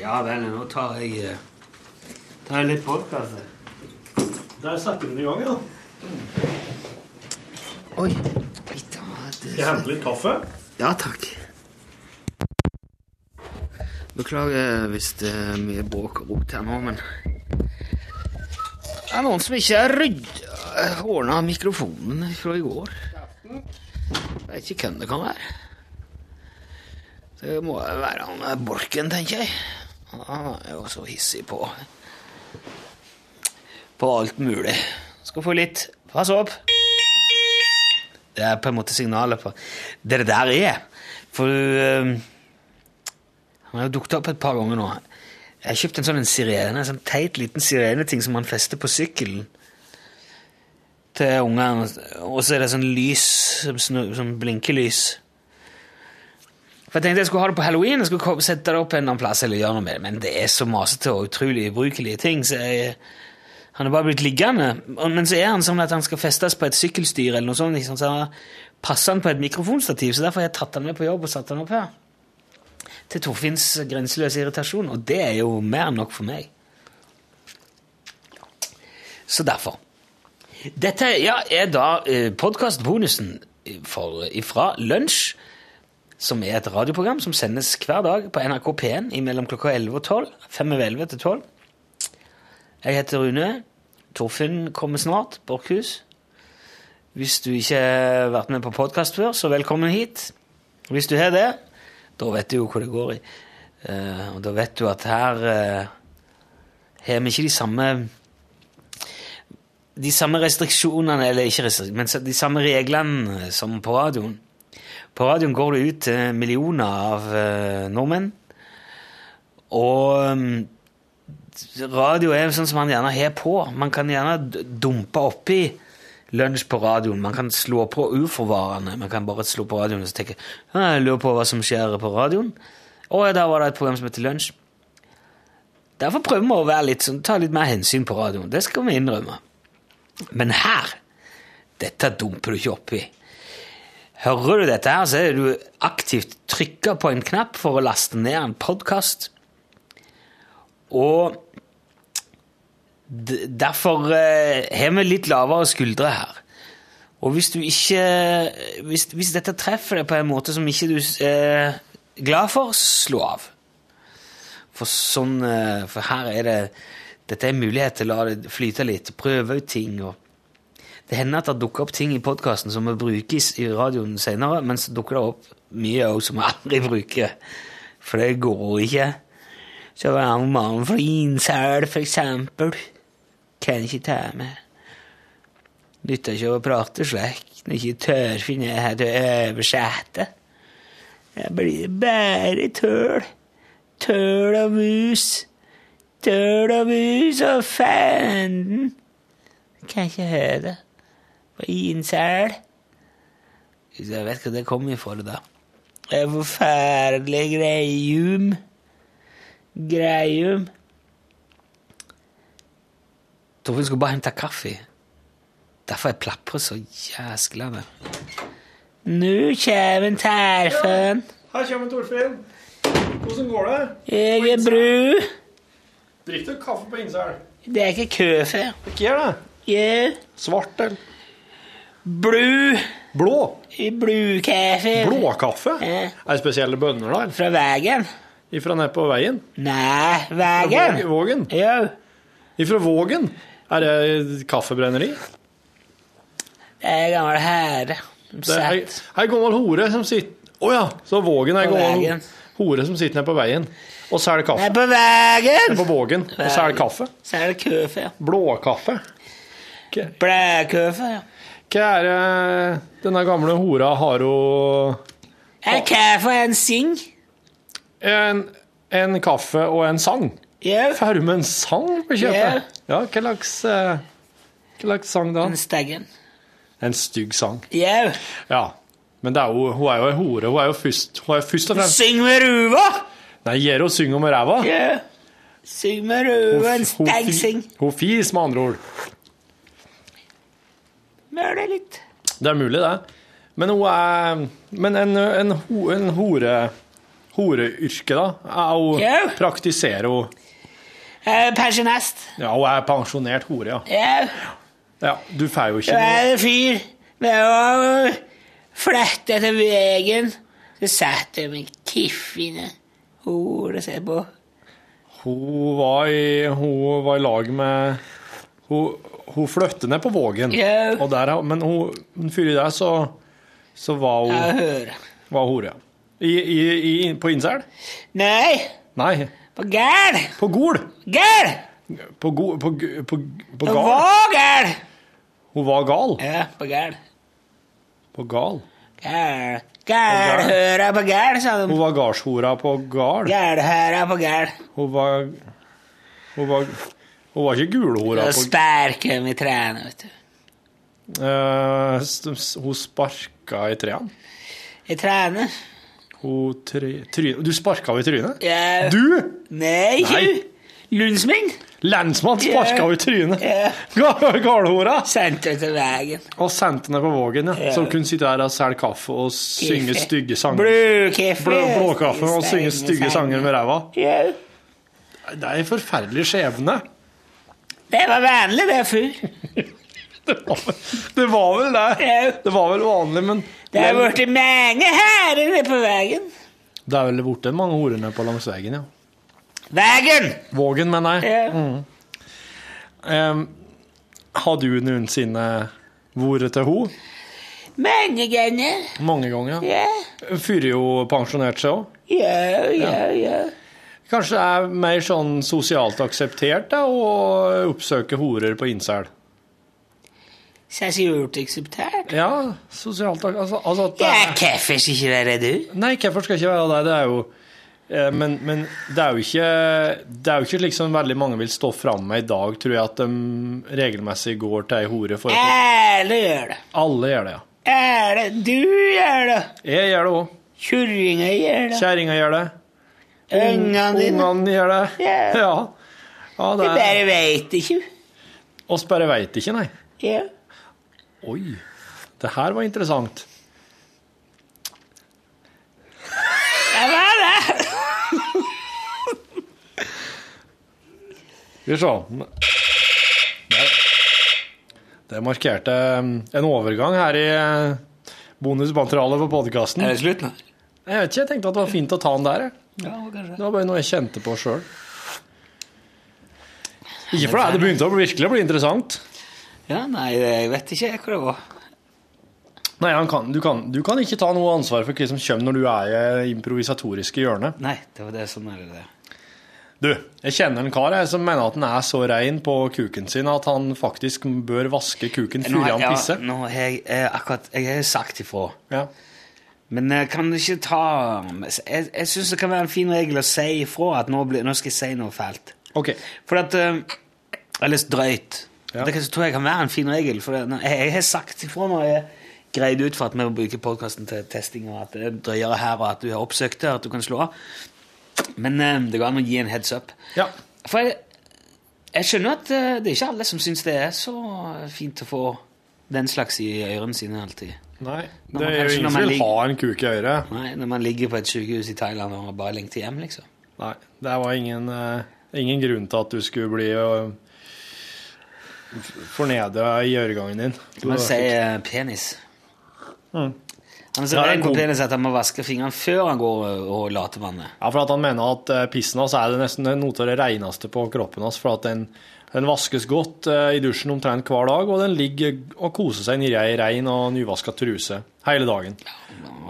Speaker 6: Ja vel, nå tar jeg, tar jeg litt podkast.
Speaker 1: Der setter den i gang, ja.
Speaker 2: Oi. Vi tar det.
Speaker 1: henter litt kaffe.
Speaker 2: Ja, takk. Beklager hvis det er mye bråk og rot her nå, men Det er noen som ikke har rydda ordna mikrofonen fra i går. Jeg vet ikke hvem det kan være. Det må jo være han eh, Borken, tenker jeg. Han er jo så hissig på På alt mulig. Skal få litt Pass opp! Det er på en måte signalet på det det der er. For du Han har jo dukket opp et par ganger nå. Jeg har kjøpt en sånn en sirene, en sånn teit liten sireneting som man fester på sykkelen til ungene. Og så er det sånn lys, som snu- sånn blinkelys. For jeg tenkte jeg skulle ha det på halloween, jeg skulle ko- sette det opp en eller annen plass, eller gjøre noe med det, men det er så masete og utrolig ubrukelige ting, så jeg han er bare blitt liggende, og- men så er han sånn at han skal festes på et sykkelstyr eller noe sånt, liksom, så han passer han på et mikrofonstativ, så derfor har jeg tatt han med på jobb og satt han opp her. Til Torfinns grenseløse irritasjon, og det er jo mer enn nok for meg. Så derfor. Dette ja, er da eh, podkastbonusen for- ifra Lunsj, som er et radioprogram som sendes hver dag på NRK P1 mellom klokka 11 og 12. Fem over 11 til 12. Jeg heter Rune. Torfinn kommer snart. Borkhus. Hvis du ikke har vært med på podkast før, så velkommen hit. Hvis du har det, da vet du jo hvor det går i. Eh, og da vet du at her eh, har vi ikke de samme De samme restriksjonene, eller ikke restriksjonene, men så- de samme reglene som på radioen. På radioen går det ut til millioner av eh, nordmenn. Og mm, radio er jo sånn som man gjerne har på. Man kan gjerne d- dumpe oppi lunsj på radioen. Man kan slå på uforvarende. Man kan bare slå på radioen og så tenke «Ja, Jeg lurer på hva som skjer på radioen. Å ja, der var det et program som heter Lunsj. Derfor prøver vi å være litt sånn, ta litt mer hensyn på radioen. Det skal vi innrømme. Men her Dette dumper du ikke oppi. Hører du dette her, så er det du aktivt trykker på en knapp for å laste ned en podkast. Og d- derfor eh, har vi litt lavere skuldre her. Og hvis du ikke eh, Hvis, hvis dette treffer deg på en måte som ikke du s- er glad for, slå av. For sånn eh, For her er det Dette er en mulighet til å la det flyte litt, prøve ut ting og det hender at det dukker opp ting i podkasten som vi bruker i s- i radioen senere, men så dukker det opp mye òg som vi aldri bruker. For det går ikke. Så var han mannen fra Innsel, for eksempel. Kan ikke ta med. Nytter ikke å prate slik når ikke Tørfinn er her til å oversette. Jeg blir bare tøl. Tøl og mus. Tøl og mus og fanden. Kan ikke høre det. På Innsel. Jeg vet ikke hvor det kommer ifra, det der. Det er forferdelig greium. Greium. Torfinn skulle bare hente kaffe. Derfor jeg plaprer så jæsklende. Nå kjem Terfen.
Speaker 1: Her kommer Torfinn. Hvordan går det?
Speaker 2: Jeg er bru.
Speaker 8: Drikker du kaffe på Innsel?
Speaker 2: Det er ikke kaffe.
Speaker 8: Ikke gjør det.
Speaker 2: Yeah.
Speaker 8: Svart eller
Speaker 2: Blu.
Speaker 8: blå?
Speaker 2: Blukaffe.
Speaker 8: Blåkaffe?
Speaker 2: Ja.
Speaker 8: Er det spesielle bønner der?
Speaker 2: Eh, Fra veien.
Speaker 8: Ifra ned på veien?
Speaker 2: Nei,
Speaker 8: Fra
Speaker 2: veien.
Speaker 8: Våg- Vågen?
Speaker 2: Jo.
Speaker 8: Ifra Vågen? Er det kaffebrenneri?
Speaker 2: Det er gammel herre.
Speaker 8: Det er ei-
Speaker 2: Sett.
Speaker 8: ei gammel hore som sitter Å ja, så Vågen er ei
Speaker 2: På
Speaker 8: gammel
Speaker 2: veien.
Speaker 8: hore som sitter ned på veien og
Speaker 2: Det
Speaker 8: selger kaffe.
Speaker 2: er på veien.
Speaker 8: På Vågen og selger kaffe.
Speaker 2: Så er det kaffe.
Speaker 8: Blåkaffe.
Speaker 2: Blækaffe.
Speaker 8: Hva er det denne gamle hora har hun
Speaker 2: Er kaffe en sing?
Speaker 8: en, en kaffe og en sang?
Speaker 2: Jo.
Speaker 8: Får hun en sang på
Speaker 2: Ja.
Speaker 8: kjøpet? Ja, hva slags eh, Hva slags sang da?
Speaker 2: En staggen.
Speaker 8: En stygg sang.
Speaker 2: Jo.
Speaker 8: Ja. Men det er jo, hun er jo ei hore. Hun er jo først, hun er jo først og fremst
Speaker 2: Syng med ruva.
Speaker 8: Nei, Gjero synger med ræva.
Speaker 2: Jo. Syng med ruva. En
Speaker 8: Hun- hun
Speaker 2: stagg
Speaker 8: fi-
Speaker 2: syng.
Speaker 8: Hun fis, med andre ord.
Speaker 2: Mør det litt.
Speaker 8: Det er mulig, det. Men hun er Men en, en, ho- en hore horeyrke, da? Er hun,
Speaker 2: Ja.
Speaker 8: Praktiserer hun
Speaker 2: Jeg er pensjonist.
Speaker 8: Ja, hun er pensjonert hore, ja.
Speaker 2: Jo.
Speaker 8: ja du får jo ikke
Speaker 2: Du
Speaker 8: noe
Speaker 2: er en fyr med å flette etter veien. Så satt jeg med kiffene hore se på.
Speaker 8: Hun var i, hun var i lag med Hun, hun flyttet ned på Vågen,
Speaker 2: Ja.
Speaker 8: og der, har- men hun, men før i det så, så var hun
Speaker 2: Jeg hører.
Speaker 8: var hun hore. ja. I, i, i, på Innsel?
Speaker 2: Nei,
Speaker 8: Nei,
Speaker 2: på gæl!
Speaker 8: på Gol.
Speaker 2: Gæl!
Speaker 8: På, go, på, g- på, på
Speaker 2: På
Speaker 8: Gal.
Speaker 2: var gæl!
Speaker 8: Hun var gal.
Speaker 2: Ja, på gæl.
Speaker 8: På gal.
Speaker 2: Gæl. Gælhøra på gæl, sa
Speaker 8: Hun
Speaker 2: de.
Speaker 8: var gardshora på gal.
Speaker 2: Gælhøra på gæl.
Speaker 8: Hun var Hun var, hun var ikke gulhora
Speaker 2: Og
Speaker 8: på
Speaker 2: sperke med trærne, vet du.
Speaker 8: Eh, st- s- Hun sparka i trærne.
Speaker 2: I trærne?
Speaker 8: Hun tre, tryne- Du sparka henne i trynet?
Speaker 2: Ja.
Speaker 8: Du!
Speaker 2: Nei,
Speaker 8: Nei.
Speaker 2: ikke Lundsming?
Speaker 8: Lensmann sparka henne i trynet!
Speaker 2: Ja.
Speaker 8: Ga- Galhora!
Speaker 2: Sendte ut til veien.
Speaker 8: Og sendte henne på Vågen, ja. Så hun kunne sitte her og selge kaffe og synge
Speaker 2: Kaffe.
Speaker 8: stygge sanger.
Speaker 2: Blåkaffe.
Speaker 8: Blå, blåkaffe og synge stygge sanger med ræva.
Speaker 2: Ja.
Speaker 8: Det er en forferdelig skjebne.
Speaker 2: Det var vanlig det før.
Speaker 8: Det var vel- det var vel det.
Speaker 2: Ja.
Speaker 8: Det var vel vanlig, men
Speaker 2: Det har vært mange herrer nede på veien.
Speaker 8: Det er vel borte mange horer nede på langs veien, ja.
Speaker 2: Veien!
Speaker 8: Vågen, mener jeg.
Speaker 2: Ja.
Speaker 8: Em, har du noensinne vært til ho?
Speaker 2: Mange ganger.
Speaker 8: Mange ganger. ja.
Speaker 2: Ja,
Speaker 8: Før jo pensjonert seg òg.
Speaker 2: ja, ja. ja.
Speaker 8: Kanskje det er mer sånn sosialt akseptert da, å oppsøke horer på incel?
Speaker 2: Sasiult akseptert.
Speaker 8: Ja, sosialt ak- altså, altså at det
Speaker 2: Ja,
Speaker 8: er,
Speaker 2: hvorfor skal ikke være du?
Speaker 8: Nei, hvorfor skal ikke være det? Det er jo eh, men, men det er jo ikke Det er jo ikke slik som veldig mange vil stå fram med i dag, tror jeg, at de regelmessig går til ei hore for å
Speaker 2: Alle gjør det.
Speaker 8: Alle gjør det, ja.
Speaker 2: Alle. Du gjør det.
Speaker 8: Jeg gjør det òg.
Speaker 2: Kjurringa gjør det.
Speaker 8: Kjerringa gjør det.
Speaker 2: Ungene dine.
Speaker 8: Ungene gjør det.
Speaker 2: Ja.
Speaker 8: Ja. ja
Speaker 2: Du
Speaker 8: det er
Speaker 2: bare veit ikke.
Speaker 8: Oss bare veit ikke, nei.
Speaker 2: Ja.
Speaker 8: Oi. Det her var interessant.
Speaker 2: Det var det.
Speaker 8: Skal vi se. Der. Det markerte um, en overgang her i eh, bonusmaterialet på podkasten.
Speaker 2: det slutt nå?
Speaker 8: Jeg vet ikke, jeg tenkte at det var fint å ta den der. jeg.
Speaker 2: Ja, kanskje.
Speaker 8: Det var bare noe jeg kjente på sjøl. Ikke for det, det begynte å bli- virkelig å bli interessant.
Speaker 2: Ja, nei, jeg vet ikke hvor det var.
Speaker 8: Nei, han kan, du, kan, du kan ikke ta noe ansvar for hva som kommer når du er i det improvisatoriske hjørnet.
Speaker 2: Nei, det var det sånn er det.
Speaker 8: Du, jeg kjenner en kar jeg, som mener at han er så rein på kuken sin at han faktisk bør vaske kuken
Speaker 2: Nå
Speaker 8: før
Speaker 2: har,
Speaker 8: han
Speaker 2: ja,
Speaker 8: pisser.
Speaker 2: nå har jeg eh, akkurat Jeg har sagt ifra.
Speaker 8: Ja.
Speaker 2: Men eh, kan du ikke ta Jeg, jeg syns det kan være en fin regel å si ifra at nå, blir, nå skal jeg si noe fælt.
Speaker 8: Ok.
Speaker 2: For at eh, Eller drøyt.
Speaker 8: Ja.
Speaker 2: Det kan, tror jeg kan være en fin regel. For det, når- jeg, jeg har sagt ifra når jeg greide ut for at vi bruker podkasten til testing, og at det er drøyere her, og at du har oppsøkt det, og at du kan slå av. Men eh, det går an å gi en heads up.
Speaker 8: Ja.
Speaker 2: For jeg, jeg skjønner at eh, det er ikke alle som syns det er så fint å få den slags i ørene sine alltid.
Speaker 8: Nei,
Speaker 2: Men
Speaker 8: det
Speaker 2: man
Speaker 8: er
Speaker 2: kanskje
Speaker 8: jo ingen
Speaker 2: når
Speaker 8: som
Speaker 2: man
Speaker 8: vil
Speaker 2: ligger-
Speaker 8: ha en kuk i øret.
Speaker 2: Nei, Når man ligger på et sykehus i Thailand og bare lengter hjem, liksom.
Speaker 8: Nei, det var ingen eh, Ingen grunn til at du skulle bli uh, fornedra i øregangen din. Du, Mm.
Speaker 2: Han sier eh, penis. Han er så
Speaker 8: Ja, det er
Speaker 2: redd på
Speaker 8: god.
Speaker 2: penis at han må vaske fingrene før han går og- og later vannet.
Speaker 8: Ja, for at han mener at eh, pissen hans er det nesten noe av det reneste på kroppen hans, for at den, den vaskes godt eh, i dusjen omtrent hver dag, og den ligger og koser seg nedi ei rein og nyvaska truse hele dagen.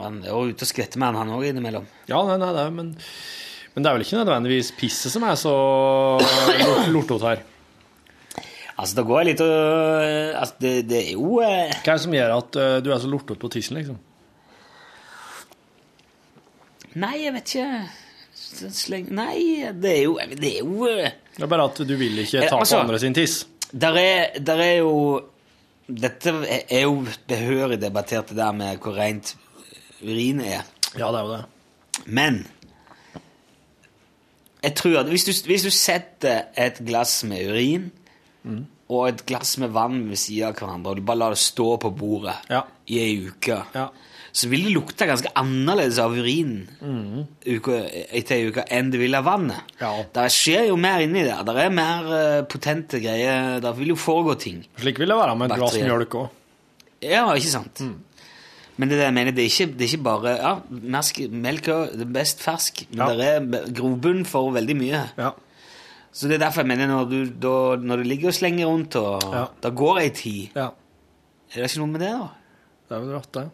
Speaker 2: Han er jo ute og skvetter med han, han òg innimellom.
Speaker 8: Ja, nei, nei, det, er- men, men det er vel ikke nødvendigvis pisset som er så lortete her.
Speaker 2: Altså, det går litt og altså, det, det er jo eh,
Speaker 8: Hva er det som gjør at eh, du er så lortete på tissen, liksom?
Speaker 2: Nei, jeg vet ikke Så Sleng... Nei, det er jo Det er jo eh,
Speaker 8: Det er bare at du vil ikke
Speaker 2: Eh,
Speaker 8: ta på
Speaker 2: altså-
Speaker 8: andre sin tiss.
Speaker 2: Der er, der er jo Dette er jo behørig debattert, det der med hvor rent urin er.
Speaker 8: Ja, det er jo det.
Speaker 2: Men jeg tror at hvis du, hvis du setter et glass med urin og et glass med vann ved siden av hverandre, og du bare lar det stå på bordet
Speaker 8: Ja.
Speaker 2: i ei uke,
Speaker 8: Ja.
Speaker 2: så vil det lukte ganske annerledes av urin uke, etter ei uke enn det vil av vannet.
Speaker 8: Ja.
Speaker 2: Der skjer jo mer inni der. Der er mer eh, potente greier. Der vil jo foregå ting.
Speaker 8: Slik vil det være med et glass
Speaker 2: Bakterier.
Speaker 8: mjølk òg.
Speaker 2: Ja, ikke sant?
Speaker 8: Mm.
Speaker 2: Men det er det jeg mener, det er ikke, det er ikke bare ja, mersk, Melk er det best fersk, men
Speaker 8: Ja.
Speaker 2: det er b- grobunn for veldig mye.
Speaker 8: Ja.
Speaker 2: Så det er derfor jeg mener når du, da, når du ligger og slenger rundt, og
Speaker 8: Ja.
Speaker 2: da går ei tid
Speaker 8: ja.
Speaker 2: Er det ikke noe med det, da?
Speaker 8: Det er vel rett, det.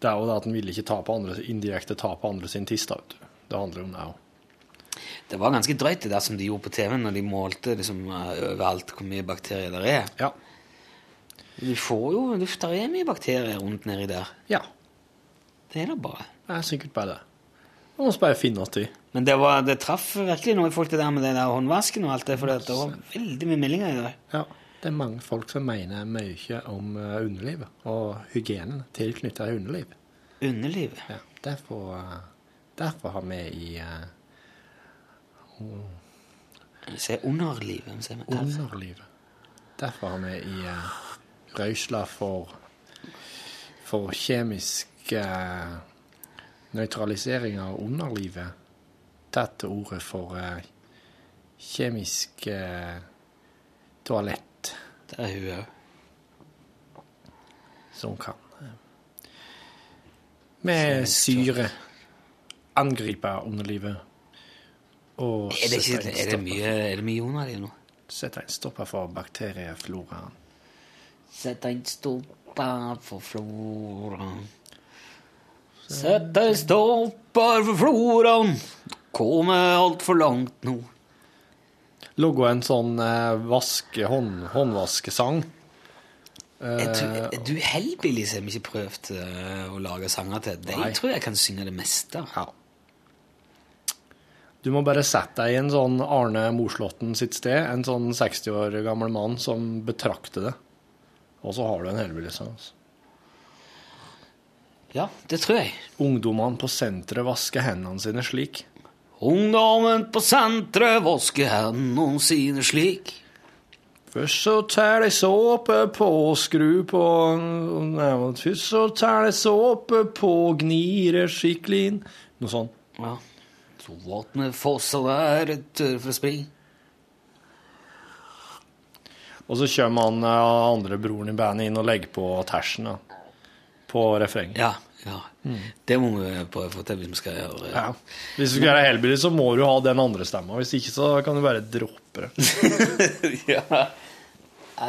Speaker 8: Det er jo det at en ville ikke ta på andre, indirekte ta på andre sin tiss, da, vet du. Det handler om det òg.
Speaker 2: Det var ganske drøyt det der som de gjorde på TV når de målte liksom, eh, overalt hvor mye bakterier der er.
Speaker 8: Ja.
Speaker 2: Du får jo, du, der er mye bakterier rundt nedi der.
Speaker 8: ja.
Speaker 2: Det er da bare.
Speaker 8: Det er sikkert bare det. Man må bare finne oss til.
Speaker 2: Men det, var, det traff virkelig noe i folk det der med den der håndvasken og alt det, for det var veldig mye meldinger i dag.
Speaker 8: Ja. Det er mange folk som mener mye om eh, underlivet og hygienen tilknyttet underliv.
Speaker 2: Underlivet.
Speaker 8: Ja. Derfor, eh, derfor har vi i eh,
Speaker 2: Se underlivet. men Se med R.
Speaker 8: underlivet. Derfor har vi i uh, røysla for, for kjemisk eh, nøytralisering av underlivet tatt til ordet for eh, kjemisk eh, toalett
Speaker 2: Der er hun òg.
Speaker 8: som kan eh, med syre angripe underlivet og
Speaker 2: Er det, ikke,
Speaker 8: sette en
Speaker 2: er, det
Speaker 8: stopper-
Speaker 2: mye, er det mye underliv nå?
Speaker 8: sette en stopper for bakteriefloraen.
Speaker 2: Sett en stopper for floraen. Sett en stopper for floraen. Kommer altfor langt nå.
Speaker 8: logge en sånn eh, vaske, hånd, håndvaskesang. Eh,
Speaker 2: Jeg tror, du Hellbillies har vi ikke prøvd eh, å lage sanger til. De
Speaker 8: Nei.
Speaker 2: tror jeg kan synge det meste.
Speaker 8: Du må bare sette deg i en sånn Arne Morslåtten sitt sted, en sånn 60 år gammel mann som betrakter det. Og så har du en helbilligssang. Altså.
Speaker 2: Ja, det tror jeg.
Speaker 8: Ungdommene på senteret vasker hendene sine slik.
Speaker 2: Ungdommen på senteret vasker hendene sine slik.
Speaker 8: Først så tar de såpe på og skru på Nei, men Først så tar de såpe på og gnirer skikkelig inn. Noe sånn.
Speaker 2: Ja. Så vatnet fosser der etter for å springe.
Speaker 8: Og så kommer han eh, andre broren i bandet inn og legger på tersen da, på refrenget.
Speaker 2: Ja, ja. Det må vi prøve å få til hvis vi skal gjøre
Speaker 8: Mm. Ja. Hvis du skal gjøre hellbilly, så må du ha den andre stemma. Hvis ikke, så kan du bare droppe det.
Speaker 2: ja.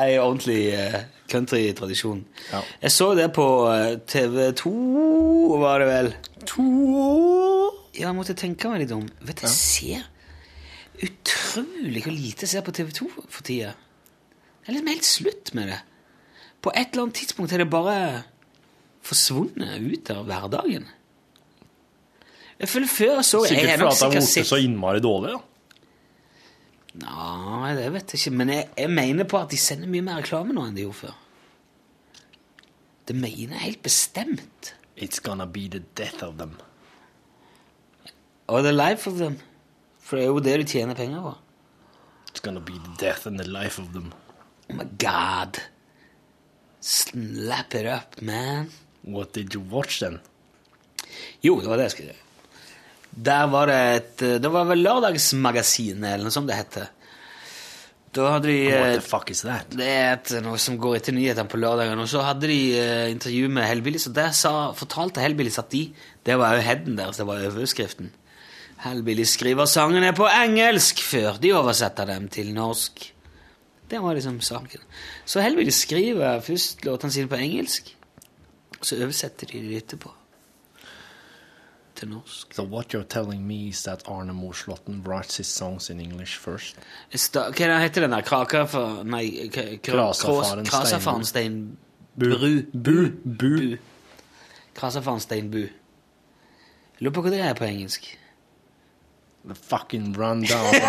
Speaker 2: Ei ordentlig eh, countrytradisjon.
Speaker 8: Ja.
Speaker 2: Jeg så det på eh, TV2, var det vel? Ja, jeg måtte tenke meg litt om. Vet du, jeg ser utrolig hvor lite jeg ser på TV2 for tida. Jeg er liksom helt slutt med det. På et eller annet tidspunkt er det bare forsvunnet ut av hverdagen. Jeg føler før så jeg
Speaker 8: Sikkert
Speaker 2: er nok
Speaker 8: fordi at det har
Speaker 2: sikkert
Speaker 8: blitt
Speaker 2: sett-
Speaker 8: så innmari dårlig. da.
Speaker 2: Nei, det vet jeg ikke. Men jeg, jeg mener på at de sender mye mer reklame nå enn de gjorde før. Det mener jeg helt bestemt.
Speaker 8: It's gonna be the death of them.
Speaker 2: Og the life of them. For det er jo det du tjener penger på.
Speaker 8: It's gonna be the death and the life of them.
Speaker 2: Oh my god. Slap it up, man.
Speaker 8: What did you watch then?
Speaker 2: Jo, det var det jeg skulle gjøre. Der var det et Det var vel Lørdagsmagasinet, eller noe sånt det heter. Da hadde de eh,
Speaker 9: What the fuck is that?
Speaker 2: Det er et, noe som går etter nyhetene på lørdagen. Og så hadde de eh, intervju med Hellbillies, og der sa, fortalte Hellbillies at de Det var jo headen deres, det var overskriften. Hellbillies skriver sangene på engelsk før de oversetter dem til norsk. Det var liksom saken. Så Hellbillies skriver først låtene sine på engelsk, og så oversetter de det etterpå til norsk.
Speaker 9: So what you're telling me is that Arne Morslotten writes his songs in English first?
Speaker 2: Sta, hva heter den der? Kraka for Nei, k- k-
Speaker 9: Krasafaren
Speaker 2: Krås- Krasafaren Stein Bru.
Speaker 9: Bu. Bu.
Speaker 2: Bu. Krasafaren Stein Bu. Lurer på hva det er på engelsk.
Speaker 9: The fucking rundown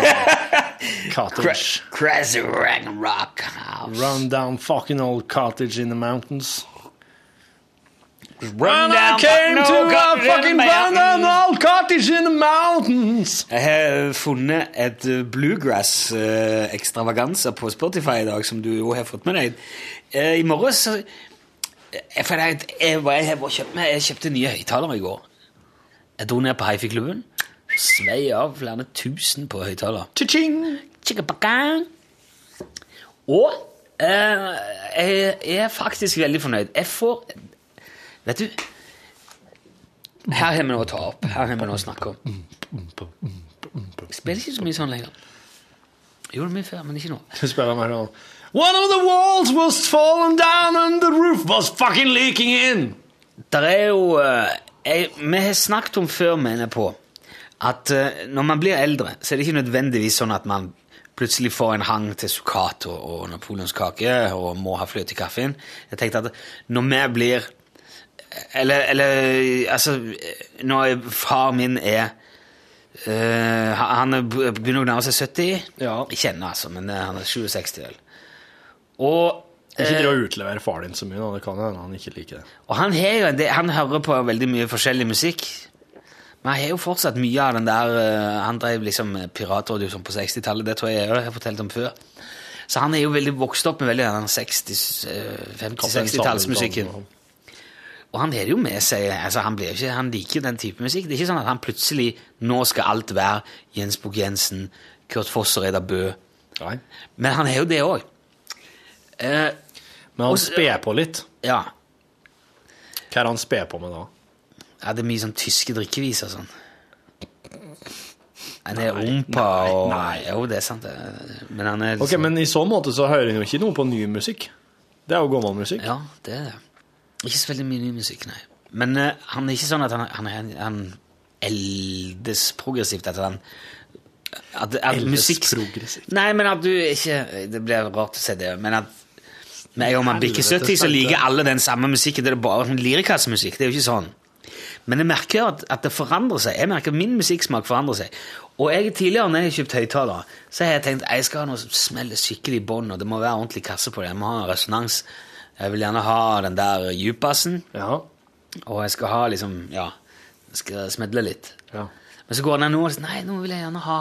Speaker 9: cottage.
Speaker 2: Crazy Rang Rock House.
Speaker 9: Rundown fucking old cottage in the mountains.
Speaker 2: Run
Speaker 9: When I
Speaker 2: down,
Speaker 9: came
Speaker 2: fuck
Speaker 9: to
Speaker 2: no,
Speaker 9: a
Speaker 2: cottage in the
Speaker 9: fucking rundown old cottage in the mountains!
Speaker 2: Jeg har funnet et eh, bluegrass-ekstravaganse på Spotify i dag, som du jo har fått med deg. Eh, I morges så- Eh, for jeg, jeg, var- jeg, var kjøpt, meg- jeg kjøpte nye høyttalere i går. Jeg dro ned på Hifi-klubben, svei av flere tusen på høyttaler. Tjikkabakka. Og eh, jeg er faktisk veldig fornøyd. Jeg får Vet du Her har vi noe å ta opp. Her har vi noe å snakke om. Jeg spiller ikke så mye sånn lenger. Jeg Gjorde det mye før, men ikke nå.
Speaker 9: Så spiller man sånn One of the walls was fallen down and the roof was fucking leaking in!
Speaker 2: Der er jo eh, jeg, Vi har snakket om før, mener jeg på, at eh, når man blir eldre, så er det ikke nødvendigvis sånn at man plutselig får en hang til sukkato og napoleonskake og må ha fløte i kaffen. Jeg tenkte at når vi blir Eller, eller altså Når far min er eh, Han er- begynner å nærme seg 70.
Speaker 9: Ja.
Speaker 2: Ikke ennå, altså, men eh, han er 67 vel. Og
Speaker 9: Ikke driv og utlevere far din så mye, da. Det kan hende han ikke liker det.
Speaker 2: Og han, har jo en del, han hører på veldig mye forskjellig musikk. Men han har jo fortsatt mye av den der eh, Han drev liksom med piratradio sånn på 60-tallet, det tror jeg jeg har fortalt om før. Så han er jo veldig vokst opp med veldig den 60, eh, 50 60-tallsmusikken. Og han har det jo med seg. altså Han, blir jo ikke, han liker jo den type musikk. Det er ikke sånn at han plutselig Nå skal alt være Jens Bukk Jensen, Kurt Foss og Reidar Bø.
Speaker 9: Nei.
Speaker 2: Men han har jo det òg. Eh,
Speaker 9: Men han
Speaker 2: så-
Speaker 9: sped på litt.
Speaker 2: ja.
Speaker 9: Hva er det han sped på med da?
Speaker 2: Ja, det er mye sånn tyske drikkeviser og sånn. Han er rumpa og
Speaker 9: nei.
Speaker 2: Jo, det er sant. det. Men han er
Speaker 9: Ok, Men i så måte så hører han jo ikke noe på ny musikk. Det er jo gammel musikk.
Speaker 2: Ja, det er det. Ikke så veldig mye ny musikk, nei. Men eh, han er ikke sånn at han, han, han, han eldes progressivt etter den. At, at
Speaker 9: Eldes
Speaker 2: musikk
Speaker 9: progressivt.
Speaker 2: Nei, men at du ikke Det blir rart å si det, men at med en gang man bikker
Speaker 9: Helvete
Speaker 2: 70, så
Speaker 9: stelte.
Speaker 2: liker alle den samme musikken. Det er bare sånn lirikassemusikk. Det er jo ikke sånn. Men jeg merker jo at, at det forandrer seg. Jeg merker at Min musikksmak forandrer seg. Og jeg tidligere, når jeg har kjøpt høyttalere, så har jeg tenkt jeg skal ha noe som smeller skikkelig i bånn, og det må være ordentlig kasse på det. Jeg må ha en resonans. Jeg vil gjerne ha den der djupassen,
Speaker 9: Ja.
Speaker 2: og jeg skal ha liksom Ja, jeg skal smedle litt.
Speaker 9: Ja.
Speaker 2: Men så går den nå og sier Nei, nå vil jeg gjerne ha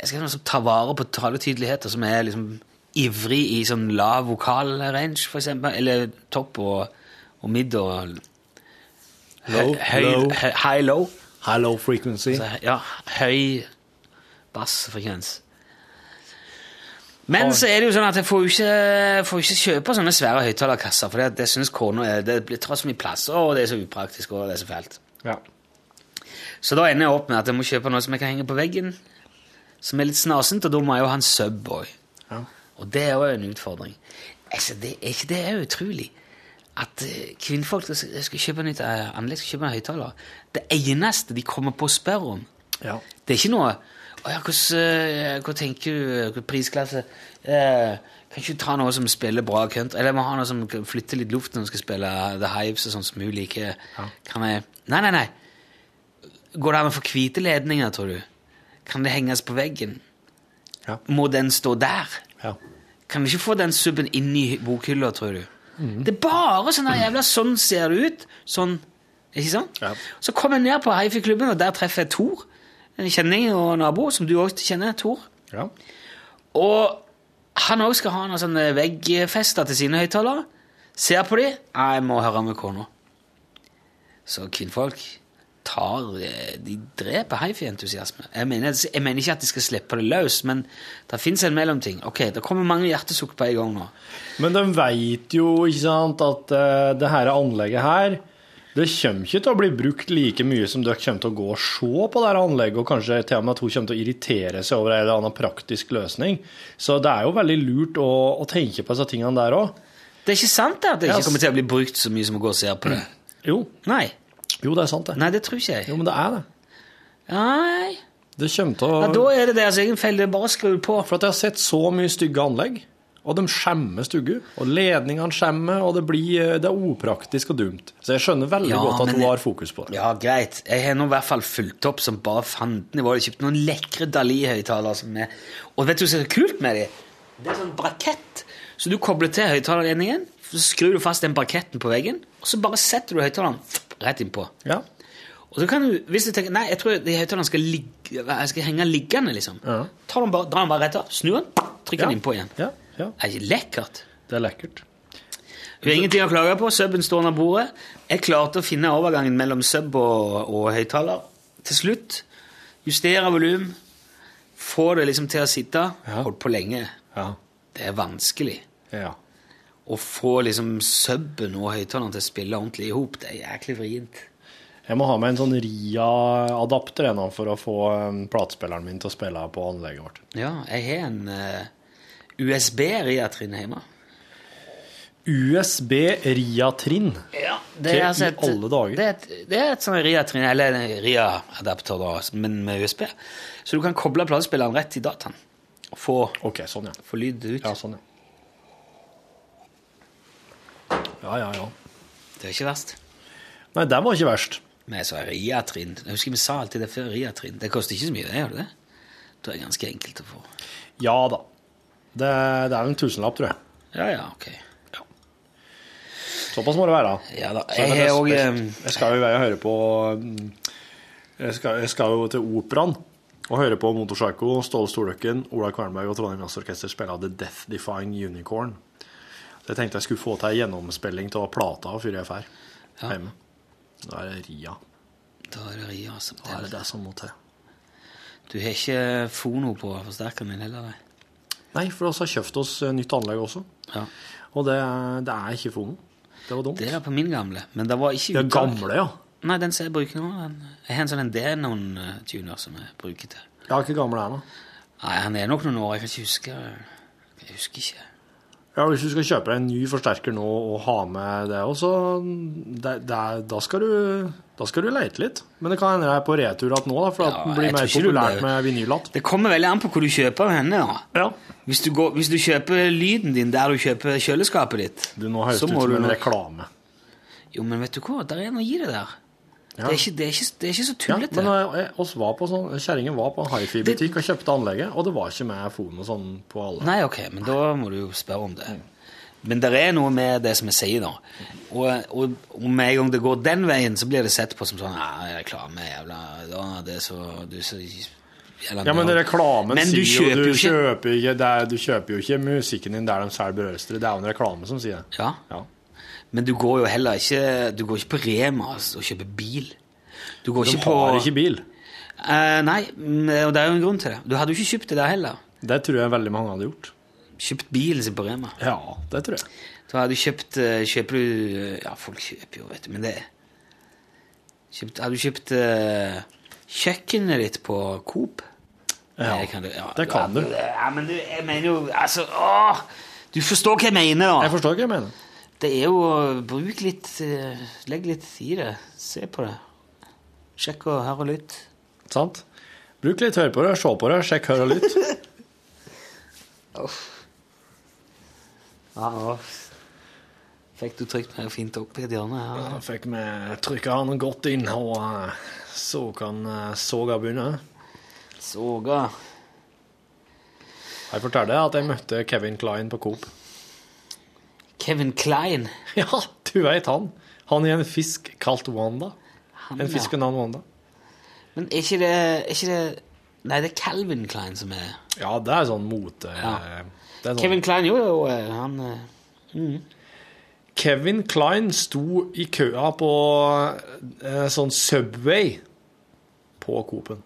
Speaker 2: Jeg skal ha noe som tar vare på taletydeligheter, som er liksom ivrig i sånn lav vokalrange, for eksempel. Eller topp og, og midd og
Speaker 9: Low,
Speaker 2: høy,
Speaker 9: low,
Speaker 2: høy, high low.
Speaker 9: high low frequency.
Speaker 2: Så, ja, høy bassfrekvens. Men så er det jo sånn at jeg får jo ikke, får jo ikke kjøpe sånne svære høyttalerkasser, for det, det syns kona er Det blir tar så mye plass, og det er så upraktisk, og det er så fælt.
Speaker 9: Ja.
Speaker 2: Så da ender jeg opp med at jeg må kjøpe noe som jeg kan henge på veggen, som er litt snasent, og da må jeg jo ha en Subboy.
Speaker 9: Ja.
Speaker 2: Og det er jo en utfordring. Altså, det, er ikke det er jo utrolig? At eh, kvinnfolk skal, skal kjøpe nytt eh, anlegg, skal kjøpe en høyttaler. Det eneste de kommer på å spørre om,
Speaker 9: ja.
Speaker 2: det er ikke noe «Å ja, hvordan, eh, Hva tenker du? eh, hva Prisklasse? Eh, kan ikke du ta noe som spiller bra country? Eller jeg må ha noe som kan flytte litt luft når du skal spille The Hives og sånn som hun liker. Kan jeg Nei, nei, nei. Går det an å få hvite ledninger, tror du? Kan det henges på veggen?
Speaker 9: Ja.
Speaker 2: Må den stå der?
Speaker 9: ja.
Speaker 2: Kan vi ikke få den subben inn i bokhylla, tror du? Det er bare sånn der jævla Sånn ser det ut. Sånn. Ikke sant?
Speaker 9: Ja.
Speaker 2: Så kom jeg ned på hifi-klubben, og der treffer jeg Tor. En kjenning og nabo, som du også kjenner. Tor.
Speaker 9: ja.
Speaker 2: Og han òg skal ha noen sånne veggfester til sine høyttalere. Ser på de. «Nei, Jeg må høre med kona. Så kvinnfolk, tar eh, De dreper hifi-entusiasme. Jeg, mener- jeg mener ikke at de skal slippe det løs, men det fins en mellomting. Ok, Det kommer mange hjertesukk på en gang nå.
Speaker 8: Men de veit jo, ikke sant, at eh, det her anlegget her Det kommer ikke til å bli brukt like mye som dere kommer til å gå og se på det her anlegget, og kanskje til og med at hun kommer til å irritere seg over en eller annen praktisk løsning. Så det er jo veldig lurt å, å tenke på disse tingene der òg.
Speaker 2: Det er ikke sant det, at det
Speaker 8: Ja,
Speaker 2: ikke
Speaker 8: s-
Speaker 2: kommer til å bli brukt så mye som å gå og se på det.
Speaker 8: Jo,
Speaker 2: Nei,
Speaker 8: jo, det er sant, det.
Speaker 2: nei, det tror ikke jeg.
Speaker 8: Jo, men det er det.
Speaker 2: Nei,
Speaker 8: Det kommer til å
Speaker 2: ja, Da er det deres egen feil. Det er bare å skru på.
Speaker 8: For at jeg har sett så mye stygge anlegg, og de skjemmer stugge, og ledningene skjemmer, og det, blir, eh, det er opraktisk og dumt. Så jeg skjønner veldig
Speaker 2: Ja,
Speaker 8: godt at
Speaker 2: men-
Speaker 8: hun har fokus på det.
Speaker 2: Ja, greit. Jeg har nå i hvert fall fulgt opp som bare fanden. Jeg har kjøpt noen lekre Dali-høyttalere. som er- Og vet du hva som er kult med dem? Det er sånn brakett. Så du kobler til høyttalerledningen, så skrur du fast den braketten på veggen, og så bare setter du høyttaleren rett innpå.
Speaker 8: Ja.
Speaker 2: Og så kan du, hvis du tenker, nei, jeg tror de høyttalerne skal, ligge, jeg skal henge liggende, liksom.
Speaker 8: Ja.
Speaker 2: Tar den bare, drar den bare rett av, snur den, trykker
Speaker 8: Ja.
Speaker 2: den innpå igjen.
Speaker 8: Ja, ja,
Speaker 2: Det er ikke lekkert.
Speaker 8: det er lekkert.
Speaker 2: Vi har ingenting å klage på. Subben står under bordet. Jeg klarte å finne overgangen mellom sub og, og høyttaler til slutt. Justere volum. Få det liksom til å sitte.
Speaker 8: Ja.
Speaker 2: Holdt på lenge.
Speaker 8: Ja,
Speaker 2: Det er vanskelig
Speaker 8: ja.
Speaker 2: å få liksom subben og høyttaleren til å spille ordentlig i hop. Det er jæklig vrient.
Speaker 8: Jeg må ha med en sånn RIA-adapter jeg nå for å få um, platespilleren min til å spille på anlegget vårt.
Speaker 2: Ja, jeg har en eh, USB-riatrin hjemme.
Speaker 8: USB RIA-trinn.
Speaker 2: Ja,
Speaker 8: Til i alle dager.
Speaker 2: Det er et, det er et sånn RIA-trin, eller en RIA-adapter, da, men med USB. Så du kan koble platespilleren rett til dataen. og Få
Speaker 8: Ok, sånn ja.
Speaker 2: få lyd ut.
Speaker 8: Ja, sånn ja. Ja, ja, ja.
Speaker 2: Det er ikke verst.
Speaker 8: Nei, det var ikke verst.
Speaker 2: Men jeg sa riatrin. Jeg husker vi sa alltid det før riatrin. Det koster ikke så mye, det gjør det det? Det er ganske enkelt å få.
Speaker 8: Ja da. Det, det er jo en tusenlapp, tror jeg.
Speaker 2: Ja, ja, ok.
Speaker 8: Såpass må det være.
Speaker 2: Ja da.
Speaker 8: Men
Speaker 2: Jeg har eh, òg
Speaker 8: jeg, jeg skal jo i vei og høre på mm, jeg skal, jeg skal jo til operaen og høre på Motorpsycho, Ståle Storløkken, Ola Kvernberg og Trondheim Jazzorkester spille The Death Defying Unicorn. Så jeg tenkte jeg skulle få til ei gjennomspilling av plata før jeg drar
Speaker 2: Ja.
Speaker 8: hjemme. Da er det Ria.
Speaker 2: Da er det ria som
Speaker 8: Da er det
Speaker 2: teller.
Speaker 8: det som må til.
Speaker 2: Du har ikke fono på forsterkeren din heller, nei?
Speaker 8: Nei, for vi har kjøpt oss eh, nytt anlegg også.
Speaker 2: Ja.
Speaker 8: Og det, det er ikke fono. Det var dumt.
Speaker 2: Det
Speaker 8: Det
Speaker 2: er det på min gamle, men det var ikke
Speaker 8: er gamle, ja.
Speaker 2: Nei, den som jeg bruker nå, den. Jeg har en sånn en Denon-tuner som jeg bruker til.
Speaker 8: Jeg har ikke gamle ennå.
Speaker 2: Nei, han er nok noen år, jeg kan ikke huske. Jeg husker ikke.
Speaker 8: Ja, Hvis du skal kjøpe deg en ny forsterker nå og ha med det også, det, det, er- da, skal du, da skal du leite litt. Men det kan hende jeg er på retur igjen nå, da, for at
Speaker 2: Ja,
Speaker 8: den blir
Speaker 2: jeg
Speaker 8: mer
Speaker 2: tror ikke du
Speaker 8: populært
Speaker 2: blir-
Speaker 8: med vinylat.
Speaker 2: Det kommer veldig an på hvor du kjøper henne, da.
Speaker 8: Ja.
Speaker 2: Hvis du, går, hvis du kjøper lyden din der du kjøper kjøleskapet ditt
Speaker 8: Du nå høres
Speaker 2: så
Speaker 8: det ut
Speaker 2: må
Speaker 8: som
Speaker 2: du
Speaker 8: en
Speaker 2: nok-
Speaker 8: reklame.
Speaker 2: Jo, men vet du hva? Der er noe i det der.
Speaker 8: Ja.
Speaker 2: Det, er ikke, det, er ikke, det er ikke så
Speaker 8: Ja,
Speaker 2: tullete.
Speaker 8: men eh, oss var på sånn, Kjerringen var på en hifi-butikk og kjøpte anlegget, og det var ikke med fono sånn på alle.
Speaker 2: Nei, ok, men da må du jo spørre om det. Men det er noe med det som jeg sier nå. Og, og, og med en gang det går den veien, så blir det sett på som sånn Ja, reklame, jævla da, Det er så Du er så jævla
Speaker 8: Ja, men
Speaker 2: nerd.
Speaker 8: reklamen
Speaker 2: Men du
Speaker 8: sier
Speaker 2: kjøper
Speaker 8: jo du
Speaker 2: jo ikke-
Speaker 8: kjøper, ikke, det er, du kjøper jo ikke musikken din der de selger brødrester. Det er jo en reklame som sier det.
Speaker 2: Ja.
Speaker 8: Ja.
Speaker 2: Men du går jo heller ikke Du går ikke på Rema altså, og kjøper bil. Du går
Speaker 8: De
Speaker 2: ikke på
Speaker 8: har ikke bil.
Speaker 2: Eh, Nei, men- og det er jo en grunn til det. Du hadde jo ikke kjøpt det der heller.
Speaker 8: Det tror jeg veldig mange hadde gjort.
Speaker 2: Kjøpt bilen sin på Rema.
Speaker 8: Ja, det tror jeg.
Speaker 2: Da hadde du kjøpt eh, Kjøper du Ja, folk kjøper jo, vet du, men det kjøpt, Hadde du kjøpt eh, kjøkkenet ditt på Coop?
Speaker 8: Ja,
Speaker 2: det kan du. Ja,
Speaker 8: det kan du.
Speaker 2: Ja, men du, jeg mener jo Altså, åh! Du forstår hva jeg mener, da.
Speaker 8: Jeg forstår hva jeg mener.
Speaker 2: Det er jo Bruk litt eh, Legg litt i det. Se på det. Sjekk og hør og lytt.
Speaker 8: Sant? Bruk litt hør på det, se på det, sjekk, hør og lytt.
Speaker 2: Ja, nå fikk du trykt meg fint opp i et hjørne her.
Speaker 8: Da fikk vi trykka han godt inn, og eh, så kan eh, soga begynne.
Speaker 2: Soga.
Speaker 8: Jeg fortalte at jeg møtte Kevin Klein på Coop.
Speaker 2: Kevin Klein.
Speaker 8: Ja, du veit han. Han er en fisk kalt Wanda.
Speaker 2: Han,
Speaker 8: En
Speaker 2: ja.
Speaker 8: fisk ved navn Wanda.
Speaker 2: Men er ikke det, er ikke det Nei, det er Calvin Klein som er
Speaker 8: Ja, det er sånn mote...
Speaker 2: Ja.
Speaker 8: Det er sånn.
Speaker 2: Kevin Klein, jo, jo, eh, han eh,
Speaker 8: Kevin, Kevin Klein sto i køa på eh, sånn Subway på Coop-en.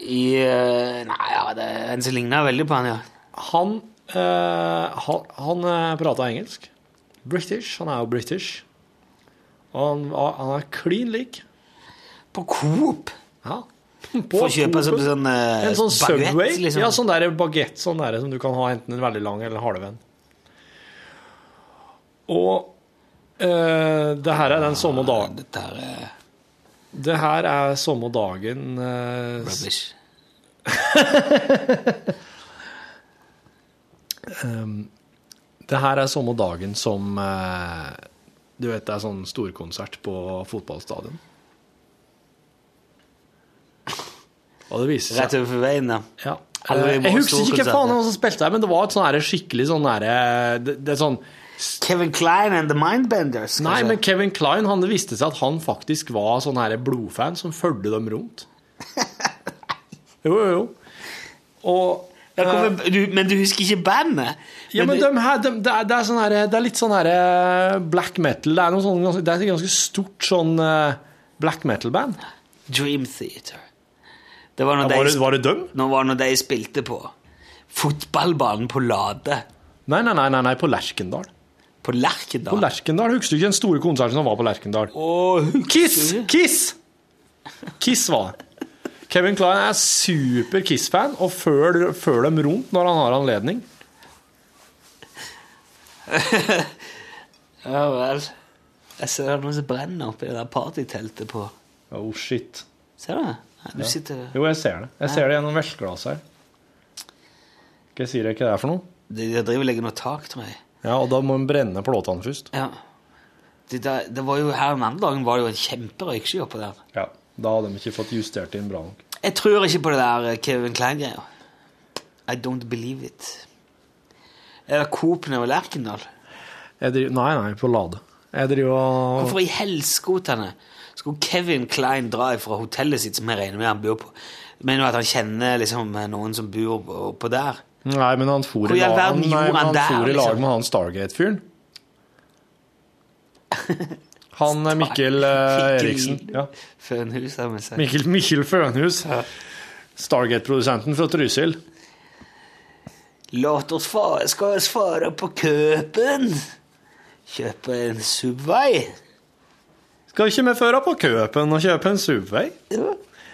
Speaker 2: I eh, Nei, ja, det er en som ligner veldig på han, ja.
Speaker 8: Han, eh, han, han eh, prater engelsk. British. Han er jo british. Og han, var- han er klin lik.
Speaker 2: På Coop.
Speaker 8: Ja.
Speaker 2: For å kjøpe sånn,
Speaker 8: Coop-en.
Speaker 2: sånn eh,
Speaker 8: En sånn
Speaker 2: baguette,
Speaker 8: Subway.
Speaker 2: liksom.
Speaker 8: Ja, sånn der bagett sånn der, som du kan ha enten en veldig lang eller en halv en. Og eh, det her er den
Speaker 2: Ah,
Speaker 8: samme dagen
Speaker 2: Dette her eh, er
Speaker 8: Det her er samme dagen eh, s-
Speaker 2: rubbish.
Speaker 8: Det her er samme dagen som eh, Du vet, det er sånn storkonsert på fotballstadion. Og det viser seg
Speaker 2: Rett overfor veien, da.
Speaker 8: Ja.
Speaker 2: Aldri
Speaker 8: Eh, Jeg
Speaker 2: vært
Speaker 8: husker ikke
Speaker 2: storkonsert,
Speaker 8: hva faen
Speaker 2: ja.
Speaker 8: han som spilte der, men det var et sånn her skikkelig sånn derre det, det er sånn
Speaker 2: Kevin Klein and The Mindbenders.
Speaker 8: Nei,
Speaker 2: kanskje?
Speaker 8: men Kevin Klein, han det viste seg at han faktisk var sånn her blodfan som fulgte dem rundt. Jo, jo, jo. Og
Speaker 2: ja, hvorfor, du, men du husker ikke bandet?
Speaker 8: Ja, men
Speaker 2: det-
Speaker 8: dem her, dem, det, er, det, er sånn her, det er litt sånn her eh, black metal. Det er, noe sånn, ganske- det er et ganske stort sånn eh, black metal-band.
Speaker 2: Dream Theater. Det var når,
Speaker 8: Var,
Speaker 2: de,
Speaker 8: det- var det dem?
Speaker 2: nå var når de spilte på fotballbanen på Lade.
Speaker 8: Nei, nei, nei, nei, nei på Lerkendal.
Speaker 2: På
Speaker 8: På
Speaker 2: Lerkendal.
Speaker 8: Lerkendal, Husker du ikke den store konserten som var på Lerkendal?
Speaker 2: Å, husker
Speaker 8: Kiss!
Speaker 2: du?
Speaker 8: Kiss! Kiss var det. Kevin Klein er super Kiss-fan og følger følger dem rundt når han har anledning.
Speaker 2: Ja vel. Jeg ser det er noen som brenner oppi det der partyteltet på
Speaker 8: Oh, shit.
Speaker 2: Ser du det? Ja, du sitter
Speaker 8: Jo, jeg ser det. Jeg ser det gjennom velteglasset her. Hva sier jeg ikke det er for noe?
Speaker 2: De de driver og legger noe tak til meg.
Speaker 8: Ja, og da må en brenne plåtene først.
Speaker 2: Ja. Det, der, det var jo Her den andre dagen var det jo en kjemperøyksky oppå der.
Speaker 8: Ja, da hadde de ikke fått justert inn bra nok.
Speaker 2: Jeg tror ikke på det der eh, Kevin Klein-greia. I don't believe it. Er det Coop nede ved Lerkendal?
Speaker 8: Jeg driver, nei, nei, på Lade. Jeg driver og
Speaker 2: Hvorfor i helskotene skulle Kevin Klein dra fra hotellet sitt, som jeg regner med han bor på? Mener du at han kjenner liksom noen som bor på- på der?
Speaker 8: Nei, men han for
Speaker 2: Hvor
Speaker 8: i
Speaker 2: i all
Speaker 8: lag,
Speaker 2: verden
Speaker 8: nei,
Speaker 2: gjorde
Speaker 8: men
Speaker 2: han
Speaker 8: han
Speaker 2: der,
Speaker 8: for i
Speaker 2: liksom?
Speaker 8: lag med han Stargate-fyren. Han er Mikkel eh, Eriksen. Ja.
Speaker 2: Fønhus, har vi sagt.
Speaker 8: Mikkel, Mikkel Fønhus. Stargate-produsenten fra Trysil.
Speaker 2: Låt oss fare, skal oss fare på køpen. Kjøpe en Subway.
Speaker 8: Skal ikke vi føre på Køpen og kjøpe en Subway?
Speaker 2: Ja.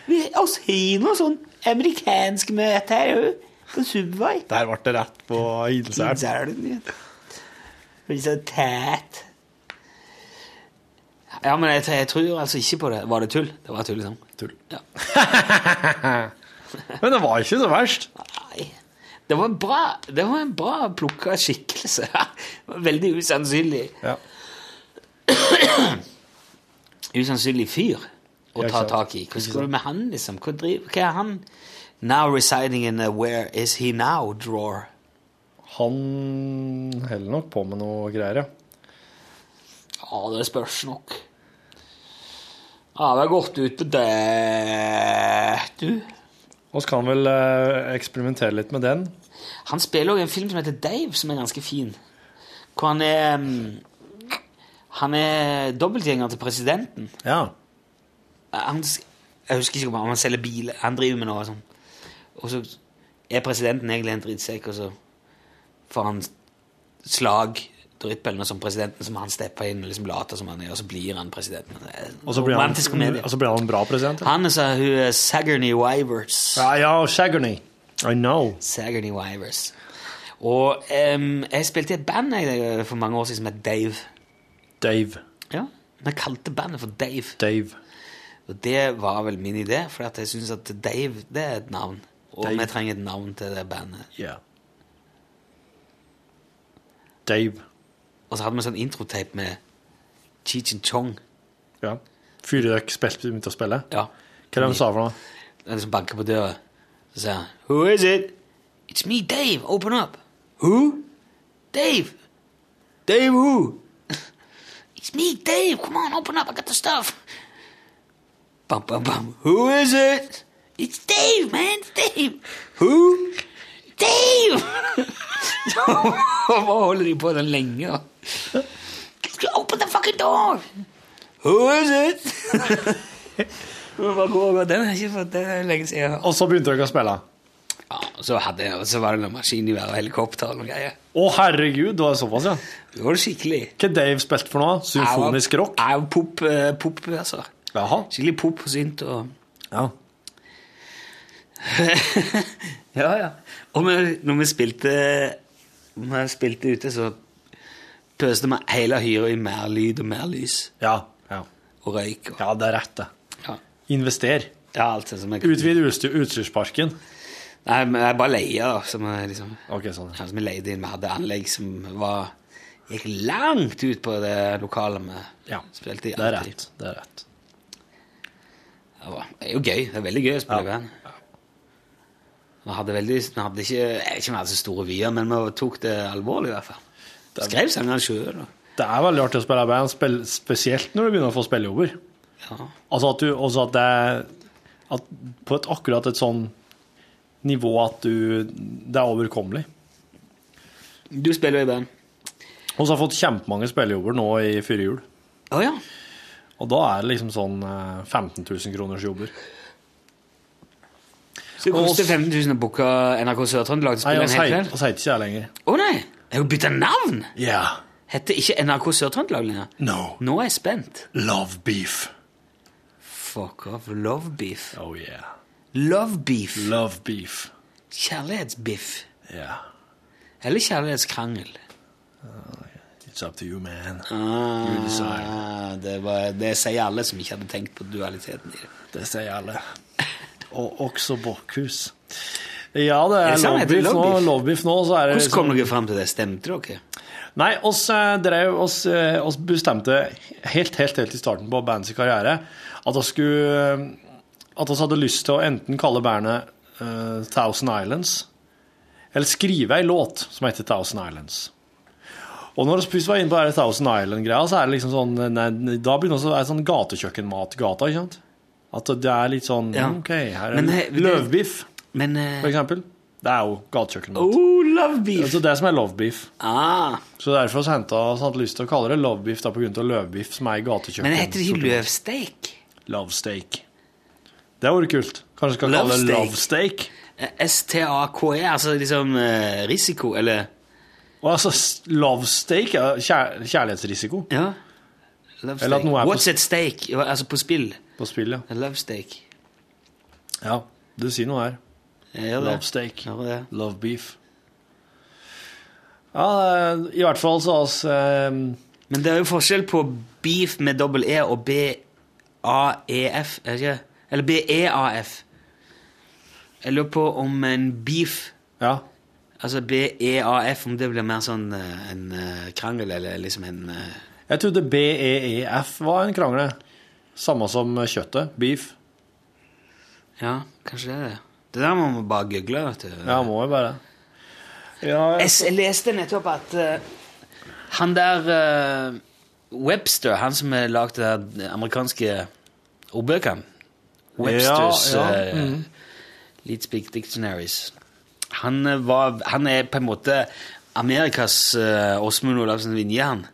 Speaker 2: Vi oss har noe sånn amerikansk møte her jo, på Subway.
Speaker 8: Der ble det rett på Hidsel.
Speaker 2: Dælen, ja. Blir så tæt. Ja, men jeg, jeg tror altså ikke på det. Var det tull? Det var tull, liksom. Tull. Ja.
Speaker 8: Men det var ikke så verst.
Speaker 2: Nei. Det var en bra, det var en bra plukka skikkelse. Det var Veldig usannsynlig.
Speaker 8: Ja.
Speaker 2: usannsynlig fyr å
Speaker 8: Ja, ikke
Speaker 2: ta
Speaker 8: sant.
Speaker 2: tak i. Hva skal du med han, liksom? Hva, driver, hva er han? Now residing in a where is he now drawer.
Speaker 8: Han holder nok på med noe greier, ja.
Speaker 2: Ja, det spørs nok. Ja, vi har gått ut på det, du.
Speaker 8: Vi kan vel eh, eksperimentere litt med den.
Speaker 2: Han spiller også i en film som heter Dave, som er ganske fin. Hvor han er mm, Han er dobbeltgjenger til presidenten.
Speaker 8: Ja.
Speaker 2: han, Jeg husker ikke om han- om han selger biler. Han driver med noe sånn. Og så er presidenten egentlig en drittsekk, og så får han slag drittbøllene som presidenten, som han stepper inn og liksom later som han er, og så blir han presidenten. Det er en
Speaker 8: Og så blir han,
Speaker 2: romantisk komedie.
Speaker 8: og så blir han en bra president.
Speaker 2: Han er så hun er Sagerny Wivers.
Speaker 8: Ja, ja, Shaggerny. I know.
Speaker 2: Sagerny Wivers. Og em, jeg spilte i et band jeg, eh, for mange år siden som het Dave.
Speaker 8: Dave.
Speaker 2: Ja, Vi kalte bandet for Dave.
Speaker 8: Dave.
Speaker 2: Og det var vel min idé, for at jeg syns at Dave det er et navn. Og
Speaker 8: Dave.
Speaker 2: vi trenger et navn til det bandet.
Speaker 8: Yeah. Dave.
Speaker 2: Og så hadde vi sånn introtape med Cheech and Chong.
Speaker 8: Ja. Fyret dere spilte begynte å spille?
Speaker 2: Ja.
Speaker 8: Hva er det de sa for noe?
Speaker 2: Den som banker på døra. Så sier han Who is it? It's me, Dave. Open up. Who? Dave. Dave who? It's me, Dave. Come on, open up. I got the stuff. Bum, bum, bum. Who is it? It's Dave, man. It's Dave. Who? Dave! Hva holder de på den lenge, da? Just open the fucking door! Who is it? Men bare gå over. Den er ikke for den er lenge siden. jeg har-
Speaker 8: Og så begynte dere å spille.
Speaker 2: Ja, og så, hadde, jeg- og så var det noe maskingevær og helikopter og noe greier.
Speaker 8: Å, herregud, det var såpass, ja.
Speaker 2: Det var skikkelig.
Speaker 8: Hva Dave spilte for noe? Symfonisk rock?
Speaker 2: Jeg var pop, eh, pop altså.
Speaker 8: Jaha.
Speaker 2: Skikkelig pop og synt og
Speaker 8: Ja.
Speaker 2: Ja, ja. Og vi, når vi spilte, når vi spilte ute, så pøste vi hele hyra i mer lyd og mer lys
Speaker 8: Ja, ja.
Speaker 2: og røyk. Og,
Speaker 8: ja det er rett, det.
Speaker 2: ja.
Speaker 8: Invester.
Speaker 2: ja, alt det som jeg
Speaker 8: Utvid utstyr, utstyrsparken.
Speaker 2: Nei, men jeg bare leie, da. Som jeg, liksom,
Speaker 8: Ok, sånn.
Speaker 2: ja, som jeg leide inn. Vi hadde anlegg som var gikk langt ut på det lokalet vi
Speaker 8: Ja.
Speaker 2: spilte i.
Speaker 8: Det er
Speaker 2: alltid.
Speaker 8: rett. Det er rett.
Speaker 2: Det var- det er jo gøy. Det er veldig gøy å spille
Speaker 8: Ja.
Speaker 2: band. Vi hadde veldig, vi hadde ikke, jeg vet ikke om vi hadde så store vyer, men vi tok det alvorlig i hvert fall. Skrev sangene sjøl.
Speaker 8: Det er veldig artig å spille i band, spel- spesielt når du begynner å få spillejobber.
Speaker 2: Ja.
Speaker 8: Altså at du også at det er at på et akkurat et sånn nivå at du Det er overkommelig.
Speaker 2: Du spiller jo i band.
Speaker 8: Og så har jeg fått kjempemange spillejobber nå i fire jul.
Speaker 2: Å ja.
Speaker 8: Og da er det liksom sånn eh, 15 000 kroners jobber.
Speaker 2: Så det koster 15 000 å booke NRK Sør-Trøndelag til å
Speaker 8: Nei,
Speaker 2: spille
Speaker 8: han
Speaker 2: en hel
Speaker 8: sier
Speaker 2: kveld?
Speaker 8: ikke jeg lenger.
Speaker 2: Å nei! Jeg har jo bytta navn!
Speaker 8: Ja.
Speaker 2: Heter ikke NRK Sør-Trøndelag lenger.
Speaker 8: No.
Speaker 2: Nå er jeg spent.
Speaker 8: Love beef.
Speaker 2: Fuck off. Love beef.
Speaker 8: Oh yeah.
Speaker 2: Love beef.
Speaker 8: Love beef.
Speaker 2: Kjærlighetsbiff.
Speaker 8: Yeah.
Speaker 2: Eller kjærlighetskrangel.
Speaker 8: It's up to you, man. You decide.
Speaker 2: Ah, det, var, det sier alle som ikke hadde tenkt på dualiteten i det.
Speaker 8: Det sier alle. Og også Bockhus. Ja, det
Speaker 2: Er
Speaker 8: er
Speaker 2: det sant? Heter det
Speaker 8: lovebeef nå.
Speaker 2: love beef?
Speaker 8: Lovebeef nå, Eh, så er det liksom-
Speaker 2: Hvordan kom dere fram til det? Stemte dere?
Speaker 8: Nei, oss eh, drev, oss, eh, oss bestemte helt, helt, helt i starten på bandets karriere at oss skulle at oss hadde lyst til å enten kalle bandet eh, Thousand Islands eller skrive ei låt som heter Thousand Islands. Og når vi først var inne på det her Thousand Island-greia, så er det liksom sånn nei, Da begynner vi å være sånn gatekjøkkenmat i gata, ikke sant? At det er litt sånn
Speaker 2: Ja.
Speaker 8: OK, her er
Speaker 2: Men
Speaker 8: det
Speaker 2: he-
Speaker 8: løvbiff,
Speaker 2: Men
Speaker 8: for
Speaker 2: eh,
Speaker 8: eksempel. Det er jo gatekjøkkenmat.
Speaker 2: Oh, love beef!
Speaker 8: Altså det som er lovebeef.
Speaker 2: Ah,
Speaker 8: Så derfor så henta så hadde sånn jeg lyst til å kalle det lovebiff da, på grunn av løvbiff, som er i gatekjøkken.
Speaker 2: men heter det ikke løvsteik?
Speaker 8: Love steak. Det hadde vært kult. Kanskje skal
Speaker 2: Love
Speaker 8: kalle det
Speaker 2: steak.
Speaker 8: love steak?
Speaker 2: Eh, STAKE, altså liksom eh, risiko, eller
Speaker 8: Og altså, s- love steak er kjær kjærlighetsrisiko
Speaker 2: Ja. Love
Speaker 8: Eller at
Speaker 2: steak.
Speaker 8: noe er på
Speaker 2: What's at stake? Ja, Altså på spill.
Speaker 8: på spill, ja.
Speaker 2: Love steak.
Speaker 8: ja. Du sier noe her.
Speaker 2: Jeg gjør det.
Speaker 8: Love steak.
Speaker 2: Jeg gjør det.
Speaker 8: Love beef. Ja, det er- i hvert fall så har oss eh,
Speaker 2: Men det er jo forskjell på beef med dobbel E og B-A-E-F, er det ikke? Eller B-E-A-F. Jeg lurer på om en beef,
Speaker 8: Ja.
Speaker 2: altså B-E-A-F, om det blir mer sånn eh, en eh, krangel, eller liksom en eh,
Speaker 8: Jeg trodde BEEF var en krangle. Samme som kjøttet. Beef.
Speaker 2: Ja, kanskje det er det. Det der må vi bare google, vet du.
Speaker 8: Ja, må jo bare ja, ja.
Speaker 2: Jeg s- jeg leste nettopp at eh, han der eh, Webster, han som har lagd de amerikanske ordbøkene Websters
Speaker 8: Ja, Mm. ja,
Speaker 2: eh, Leadspeak Dictionaries han, eh, var, han er på en måte Amerikas eh, Åsmund Olavsen Vinje, han.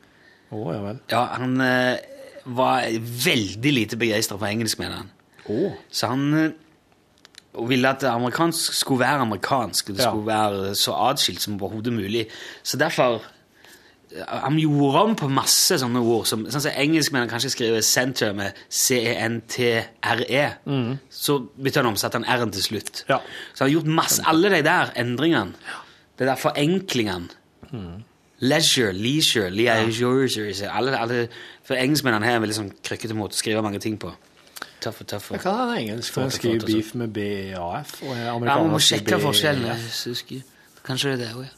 Speaker 8: Å, ja vel.
Speaker 2: Ja, han eh, var veldig lite begeistra for engelsk, mener han.
Speaker 8: Å.
Speaker 2: Så han eh, ville at amerikansk skulle være amerikansk, og det
Speaker 8: Ja.
Speaker 2: skulle være så atskilt som overhodet mulig. Så derfor eh, Han gjorde om på masse sånne ord. Som, sånn som engelskmennene kanskje skriver 'center' med E C-E-N-T-R-E. E. Så bytter han om, satte han R-en til slutt.
Speaker 8: Mm. Ja.
Speaker 2: Så han har gjort masse Alle de der endringene, de der forenklingene
Speaker 8: Mm.
Speaker 2: Leisure, leisure, leisure alle, alle, For engelskmennene her er veldig sånn krykkete måte å skrive mange ting på. Tøffe, tøffe.
Speaker 8: Jeg kan ha en engelsk for jeg
Speaker 2: Flott, flott,
Speaker 8: skriver
Speaker 2: altså.
Speaker 8: beef med BAF. Og
Speaker 2: Ja, man
Speaker 8: amerikaner
Speaker 2: må
Speaker 8: skriver
Speaker 2: sjekke
Speaker 8: B-
Speaker 2: forskjellen. jeg husker. Kanskje det er det òg, ja.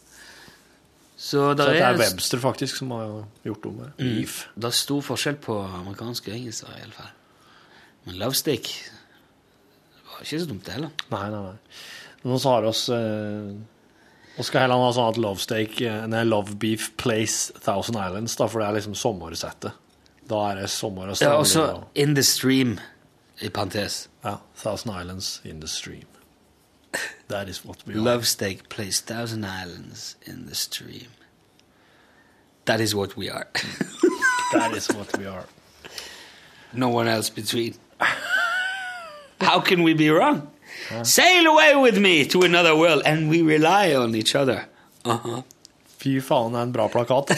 Speaker 2: Så
Speaker 8: Så
Speaker 2: der
Speaker 8: det er Mm.
Speaker 2: er,
Speaker 8: Webster faktisk som har gjort om det. Beef.
Speaker 2: der er stor forskjell på amerikansk og engelsk. der, i alle fall. Men love stick det var ikke så dumt, det heller.
Speaker 8: Nei, nei, nei. Nå så har oss eh, Oskar Helland har sånn at love steak eh, Nei, love beef place Thousand Islands, da, for det er liksom sommersettet. Da er det sommer og
Speaker 2: Ja,
Speaker 8: strand.
Speaker 2: Og så In the Stream, i parentes.
Speaker 8: ja, Thousand Islands in the stream. That is what we are.
Speaker 2: Love steak plays thousand islands in the stream. That is what we are.
Speaker 8: That is what we are.
Speaker 2: No one else between. How can we be wrong? Sail away with me to another world, and we rely on each other. Uh-huh.
Speaker 8: Fy faen, det er en bra plakat.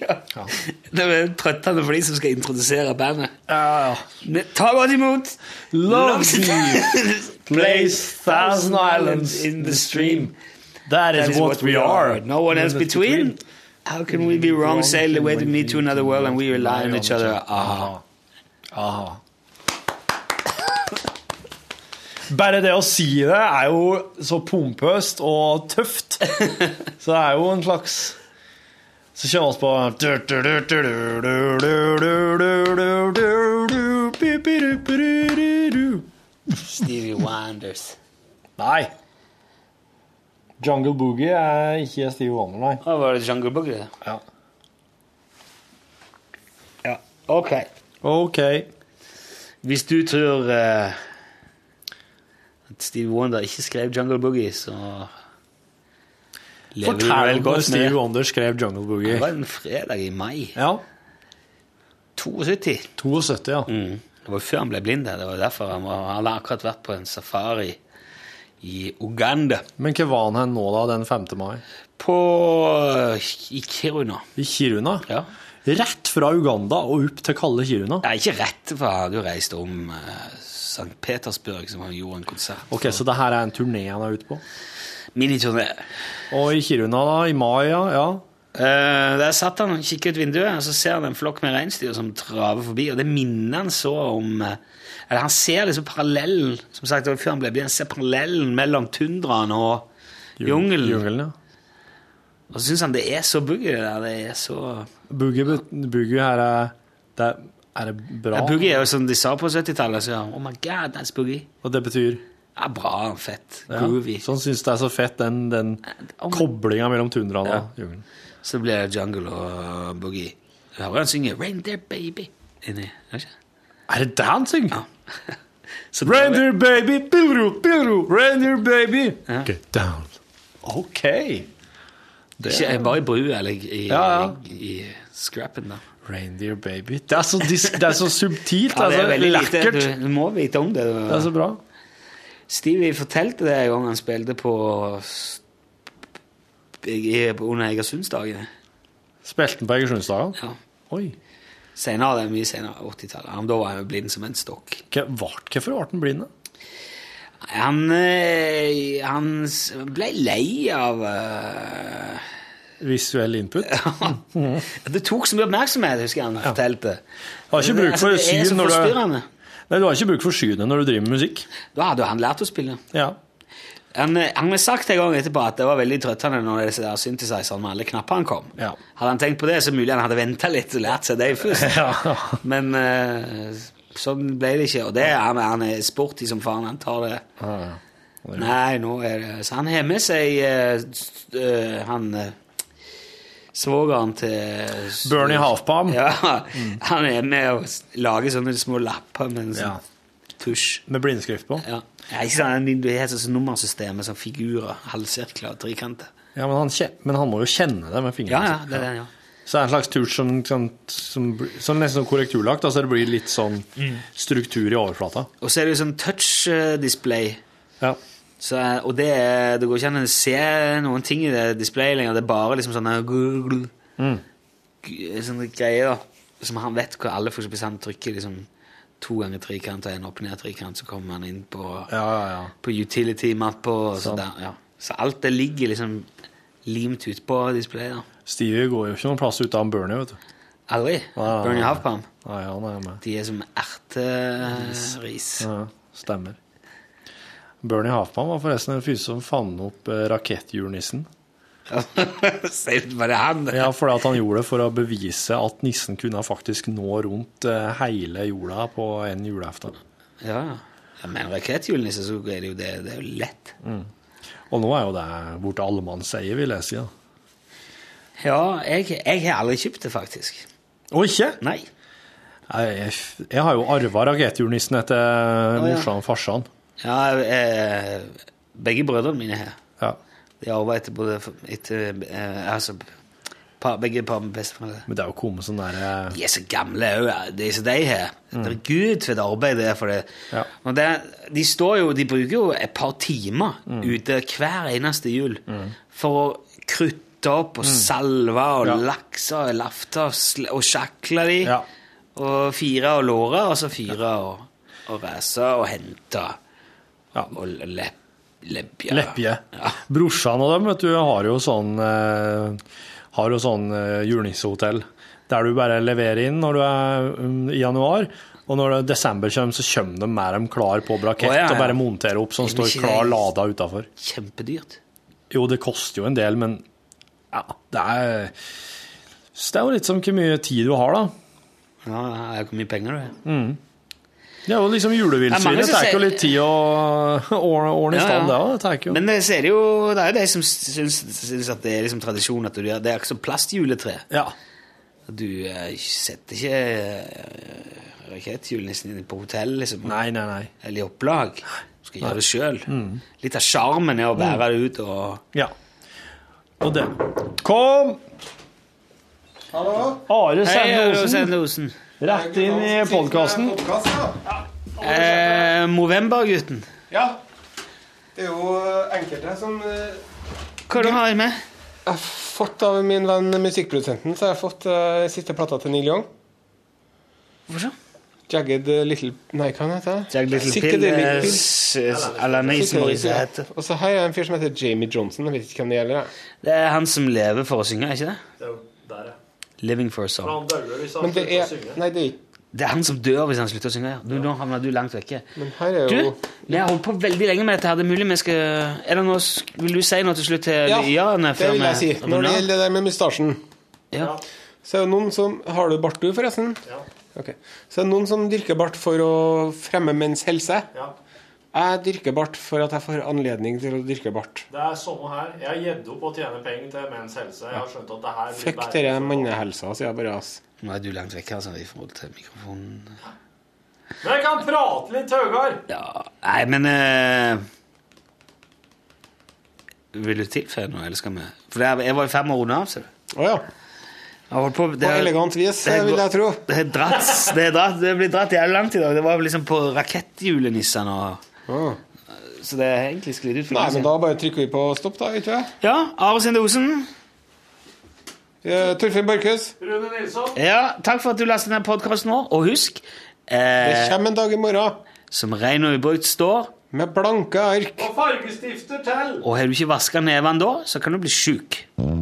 Speaker 2: ja. Det er trøttende for de som skal introdusere bandet.
Speaker 8: Ja, ja.
Speaker 2: Men Ta godt imot
Speaker 8: Love
Speaker 2: Loves-
Speaker 8: Place thousand islands in the stream. That is,
Speaker 2: That is what we are. No one else between. How can we be wrong? Sail away with me to another world, and we rely on each other. Aha.
Speaker 8: Aha. Bare det å si det er jo så pompøst og tøft. Så det er jo en slags Så kjører vi på
Speaker 2: Stevie Wonders.
Speaker 8: Nei. Jungle Boogie er ikke Steve Wonder, nei.
Speaker 2: Å, var det Jungle Book, det?
Speaker 8: Ja.
Speaker 2: Ja. Ok.
Speaker 8: OK.
Speaker 2: Hvis du tror eh, at Steve Wonder ikke skrev Jungle Boogie, så lever du
Speaker 8: Fortell
Speaker 2: vel
Speaker 8: om når
Speaker 2: godt med
Speaker 8: Steve
Speaker 2: det.
Speaker 8: Wonder skrev Jungle
Speaker 2: Det var
Speaker 8: Boogie.
Speaker 2: en fredag i mai
Speaker 8: Ja.
Speaker 2: 72.
Speaker 8: 72, ja.
Speaker 2: Det var før han ble blind. Det var derfor han, var, han hadde akkurat vært på en safari i Uganda.
Speaker 8: Men hva var han her nå, da, den 5. mai?
Speaker 2: På eh, i Kiruna.
Speaker 8: I Kiruna?
Speaker 2: Ja.
Speaker 8: Rett fra Uganda og opp til kalde Kiruna?
Speaker 2: Det er ikke rett, for han hadde jo reist om eh, St. Petersburg, som han gjorde en konsert.
Speaker 8: Ok, Så det her er en turné han er ute på?
Speaker 2: Miniturné.
Speaker 8: Og i Kiruna, da? I mai, ja? ja.
Speaker 2: Eh, der satt han og kikket ut vinduet, og så ser han en flokk med reinsdyr som traver forbi, og det minner han så om eh, Eller han ser liksom parallellen som sagt, det var før han ble blind, han ser parallellen mellom tundraen og jungelen.
Speaker 8: Jungelen, ja.
Speaker 2: Og så syns han det er så boogie, det der. Det er så
Speaker 8: Boogie, bet- boogie her er det er, er det bra?
Speaker 2: ja, Boogie er jo som de sa på 70-tallet, så ja. Oh my god, that's boogie.
Speaker 8: Og det betyr
Speaker 2: Ja, bra, fett,
Speaker 8: ja.
Speaker 2: groovy.
Speaker 8: Så han syns det er så fett, den, den
Speaker 2: Oh my-
Speaker 8: koblinga mellom tundraen og jungelen.
Speaker 2: Så blir det jungle og boogie. Du hører han synge 'Reindeer Baby' inni, gjør han ikke?
Speaker 8: Er det det han synger?
Speaker 2: Ja. Så det-
Speaker 8: Reindeer baby, bilro, bilro, reindeer baby,
Speaker 2: Ja.
Speaker 8: get down. OK.
Speaker 2: Ikke bare i brua eller i, i,
Speaker 8: Ja, ja.
Speaker 2: i, i scrappen, da.
Speaker 8: Reindeer baby. Det er så, dis det er så subtilt. altså.
Speaker 2: Ja, det er veldig lite.
Speaker 8: lekkert. altså-
Speaker 2: Du, du må vite om det.
Speaker 8: Det er så bra.
Speaker 2: Stevie fortalte det en gang han spilte på s- i- på under Egersundsdagene.
Speaker 8: Spilte den på Egersundsdagen?
Speaker 2: Ja.
Speaker 8: Oi.
Speaker 2: Senere, det er mye senere, 80-tallet. Han- Da var han jo blind som en stokk.
Speaker 8: Hva- vart- Hvorfor ble den blind? da?
Speaker 2: Han, eh, han s- ble lei av eh,
Speaker 8: Visuell input?
Speaker 2: Det tok så mye oppmerksomhet, husker jeg han fortalte. Altså,
Speaker 8: Har ikke bruk for
Speaker 2: det er så
Speaker 8: syn når du-
Speaker 2: forstyrrende.
Speaker 8: Nei, du har ikke bruk for synet når du driver med musikk.
Speaker 2: Da hadde jo han lært å spille.
Speaker 8: Ja.
Speaker 2: Han, eh, han har sagt en gang etterpå at det var veldig trøttende når disse der synthesizerne med alle knappene kom.
Speaker 8: Ja.
Speaker 2: Hadde han tenkt på det, så mulig han hadde venta litt og lært seg det først.
Speaker 8: Ja.
Speaker 2: Men eh, sånn ble det ikke. Og det, er han, han er sporty som faen. Han tar det Nei, nå er det Så han har med seg eh, s- eh, han eh, svogeren til eh,
Speaker 8: Bernie Mm. Halfpalm.
Speaker 2: Ja. Han er med og s- lager sånne små lapper med en sånn
Speaker 8: Ja.
Speaker 2: tusj.
Speaker 8: Med blindskrift på.
Speaker 2: Ja. Nei, ikke sant, det er sånn nummersystemet, sånn figurer, halvsirkler, trikanter.
Speaker 8: Ja, men han, kje- men han må jo kjenne det med
Speaker 2: Ja,
Speaker 8: fingrene.
Speaker 2: ja, det er det, ja.
Speaker 8: Så det er en slags tur som, som, som, blir- sånn nesten som korrekturlagt, da, så det blir litt sånn struktur i overflata.
Speaker 2: Og så er det jo sånn touch-display,
Speaker 8: Ja.
Speaker 2: så, og det, er- det går ikke an å se noen ting i det displayet lenger, det er bare liksom sånne, glul, glul, g- sånne greier da, som han vet hvor alle, for eksempel, hvis han trykker liksom to ganger trikant og en opp ned trikant, så kommer han inn på,
Speaker 8: Ja, ja, ja.
Speaker 2: på utility-mappa og sånn der, ja. Så alt det ligger liksom limt ut på displayet da.
Speaker 8: Stevie går jo ikke noen plass uten Bernie, vet du.
Speaker 2: Aldri,
Speaker 8: nei,
Speaker 2: Bernie
Speaker 8: nei.
Speaker 2: Halfbaum.
Speaker 8: Nei, han er med.
Speaker 2: De er som erteris.
Speaker 8: Ja, stemmer. Bernie Halfman var forresten en fyr som fant opp eh, raketthjulnissen.
Speaker 2: Sier du bare han?
Speaker 8: Ja, fordi at han gjorde det for å bevise at nissen kunne faktisk nå rundt eh, hele jorda på en julaften.
Speaker 2: Ja, ja. Men raketthjulnisse, så er det jo det, det er jo lett.
Speaker 8: Og nå er jo det borte allemannseie, vil jeg si. da.
Speaker 2: Ja, jeg, jeg har aldri kjøpt det, faktisk.
Speaker 8: Og ikke?
Speaker 2: Nei.
Speaker 8: Jeg, jeg, jeg har jo arva rakethjulnissen etter
Speaker 2: ja.
Speaker 8: morsan og farsan.
Speaker 2: Ja, eh, begge brødrene mine har.
Speaker 8: Ja.
Speaker 2: De arver etter både f- etter, eh, altså, Pa, begge par med besteforeldre.
Speaker 8: Men det er jo kommet sånn derre
Speaker 2: De er så gamle òg, de som de har. Herregud, for et arbeid det er for det.
Speaker 8: Mm. Ja.
Speaker 2: Og det de, står jo, de bruker jo et par timer
Speaker 8: Mm.
Speaker 2: ute hver eneste jul for å krutte opp og salve og
Speaker 8: Mm. Ja.
Speaker 2: lakse og lafte og, sl- og sjakle de.
Speaker 8: Ja.
Speaker 2: Og fire og låre, og så fire og, og ræse og hente.
Speaker 8: Ja.
Speaker 2: Og le, leppje.
Speaker 8: Leppje.
Speaker 2: Ja.
Speaker 8: Brorsan og dem, vet du, har jo sånn eh, Har jo sånn eh, julenissehotell der du bare leverer inn når du er mm, i januar. Og når det er desember kommer, så kommer de med dem klar på brakett
Speaker 2: Å, ja, ja.
Speaker 8: og bare monterer opp, sånn
Speaker 2: Men
Speaker 8: står
Speaker 2: ikke
Speaker 8: klar
Speaker 2: det-
Speaker 8: lada utafor.
Speaker 2: Kjempedyrt.
Speaker 8: Jo, det koster jo en del, men ja, det er Så det er jo litt som hvor mye tid du har, da.
Speaker 2: Ja, ja, hvor mye penger du har.
Speaker 8: Det er jo liksom
Speaker 2: Det er mange
Speaker 8: julevillsvinet. Det
Speaker 2: som
Speaker 8: tar jo
Speaker 2: sier-
Speaker 8: litt tid å ordne,
Speaker 2: Ja,
Speaker 8: ordne i
Speaker 2: ja.
Speaker 8: stand, det òg. Det tar ikke jo
Speaker 2: Men det, ser jo, det er jo de som syns, syns at det er liksom tradisjon at du gjør Det er ikke som plastjuletre.
Speaker 8: Ja.
Speaker 2: Du eh, setter ikke eh, rakettjulenissen inn på hotell, liksom.
Speaker 8: Nei, Mm. nei, nei.
Speaker 2: Eller i opplag. Du skal gjøre det sjøl. Litt av sjarmen er å
Speaker 8: Mm.
Speaker 2: bære det ut og
Speaker 8: Ja. Og det Kom! Hallo? Are Sende Osen.
Speaker 2: Sendosen.
Speaker 8: Rett inn i podkasten.
Speaker 2: Eh, Movember-gutten.
Speaker 10: Ja. Det er jo enkelte som eh,
Speaker 2: Hva du har du med?
Speaker 10: Jeg har fått av min venn musikkprodusenten, så jeg har fått eh, siste plata til Neil Young.
Speaker 2: Hvorfor så?
Speaker 10: Jagged Little Nei, hva heter det?
Speaker 2: Jagged Little Pill,
Speaker 10: Psychedelic
Speaker 2: eh,
Speaker 10: Pill.
Speaker 2: s- s- Eller nei, som Marisa heter.
Speaker 10: Og så her er en fyr som heter Jamie Johnson. Jeg vet ikke hvem det gjelder. jeg.
Speaker 2: Det er han som lever for å synge, er ikke det?
Speaker 8: Der, ja.
Speaker 2: Living for a song.
Speaker 8: Han døde hvis
Speaker 10: Men det er Nei, det er ikke
Speaker 2: Det er han som dør hvis han slutter å synge. ja. Nå, nå havner du langt vekke.
Speaker 10: Men her er
Speaker 2: Du,
Speaker 10: jo
Speaker 2: vi har holdt på veldig lenge med dette. her. Det er mulig vi skal Er det noe s- Vil du si noe til slutt til
Speaker 10: Ja,
Speaker 2: lyerne?
Speaker 10: det vil jeg si. Når det gjelder det der med mustasjen,
Speaker 2: ja.
Speaker 10: så er det noen som Har du bart, du, forresten? Ja. Så er det noen som dyrker bart for å fremme menns helse. Ja. Jeg dyrker bart for at jeg får anledning til å dyrke bart.
Speaker 8: Det er samme her. Jeg har gitt opp å tjene penger til menns helse. Jeg har skjønt at det her
Speaker 10: Fuck dere mannehelsa, sier jeg bare. ass.
Speaker 2: Nå er du langt vekke altså, i forhold til mikrofonen.
Speaker 8: Men jeg kan prate litt høyere!
Speaker 2: Ja Nei, men eh, Vil du tilføye noe, eller skal vi For det er, jeg var i fem år unna, ser du.
Speaker 10: Å ja.
Speaker 2: Jeg har holdt på
Speaker 10: På
Speaker 2: det er-
Speaker 10: elegant vis,
Speaker 2: det er
Speaker 10: vil
Speaker 2: gå-
Speaker 10: jeg tro.
Speaker 2: Det er dratt, det er dratt, det blir dratt jævlig langt i dag. Det var liksom på rakettjulenissene og
Speaker 10: Ah.
Speaker 2: Så det er egentlig sklidd ut. for
Speaker 10: Nei,
Speaker 2: lenge
Speaker 10: men da bare trykker vi på stopp, da. vet du hva?
Speaker 2: siden. Ja, Are Sinde Osen.
Speaker 10: Eh, Torfinn Borchhus,
Speaker 2: Ja, takk for at du lastet ned podkasten vår. Og husk,
Speaker 10: det
Speaker 2: eh,
Speaker 10: kommer en dag i morgen
Speaker 2: som rein og ubrukt står,
Speaker 10: med blanke ark.
Speaker 2: og har du ikke vaska nevene da, så kan du bli sjuk.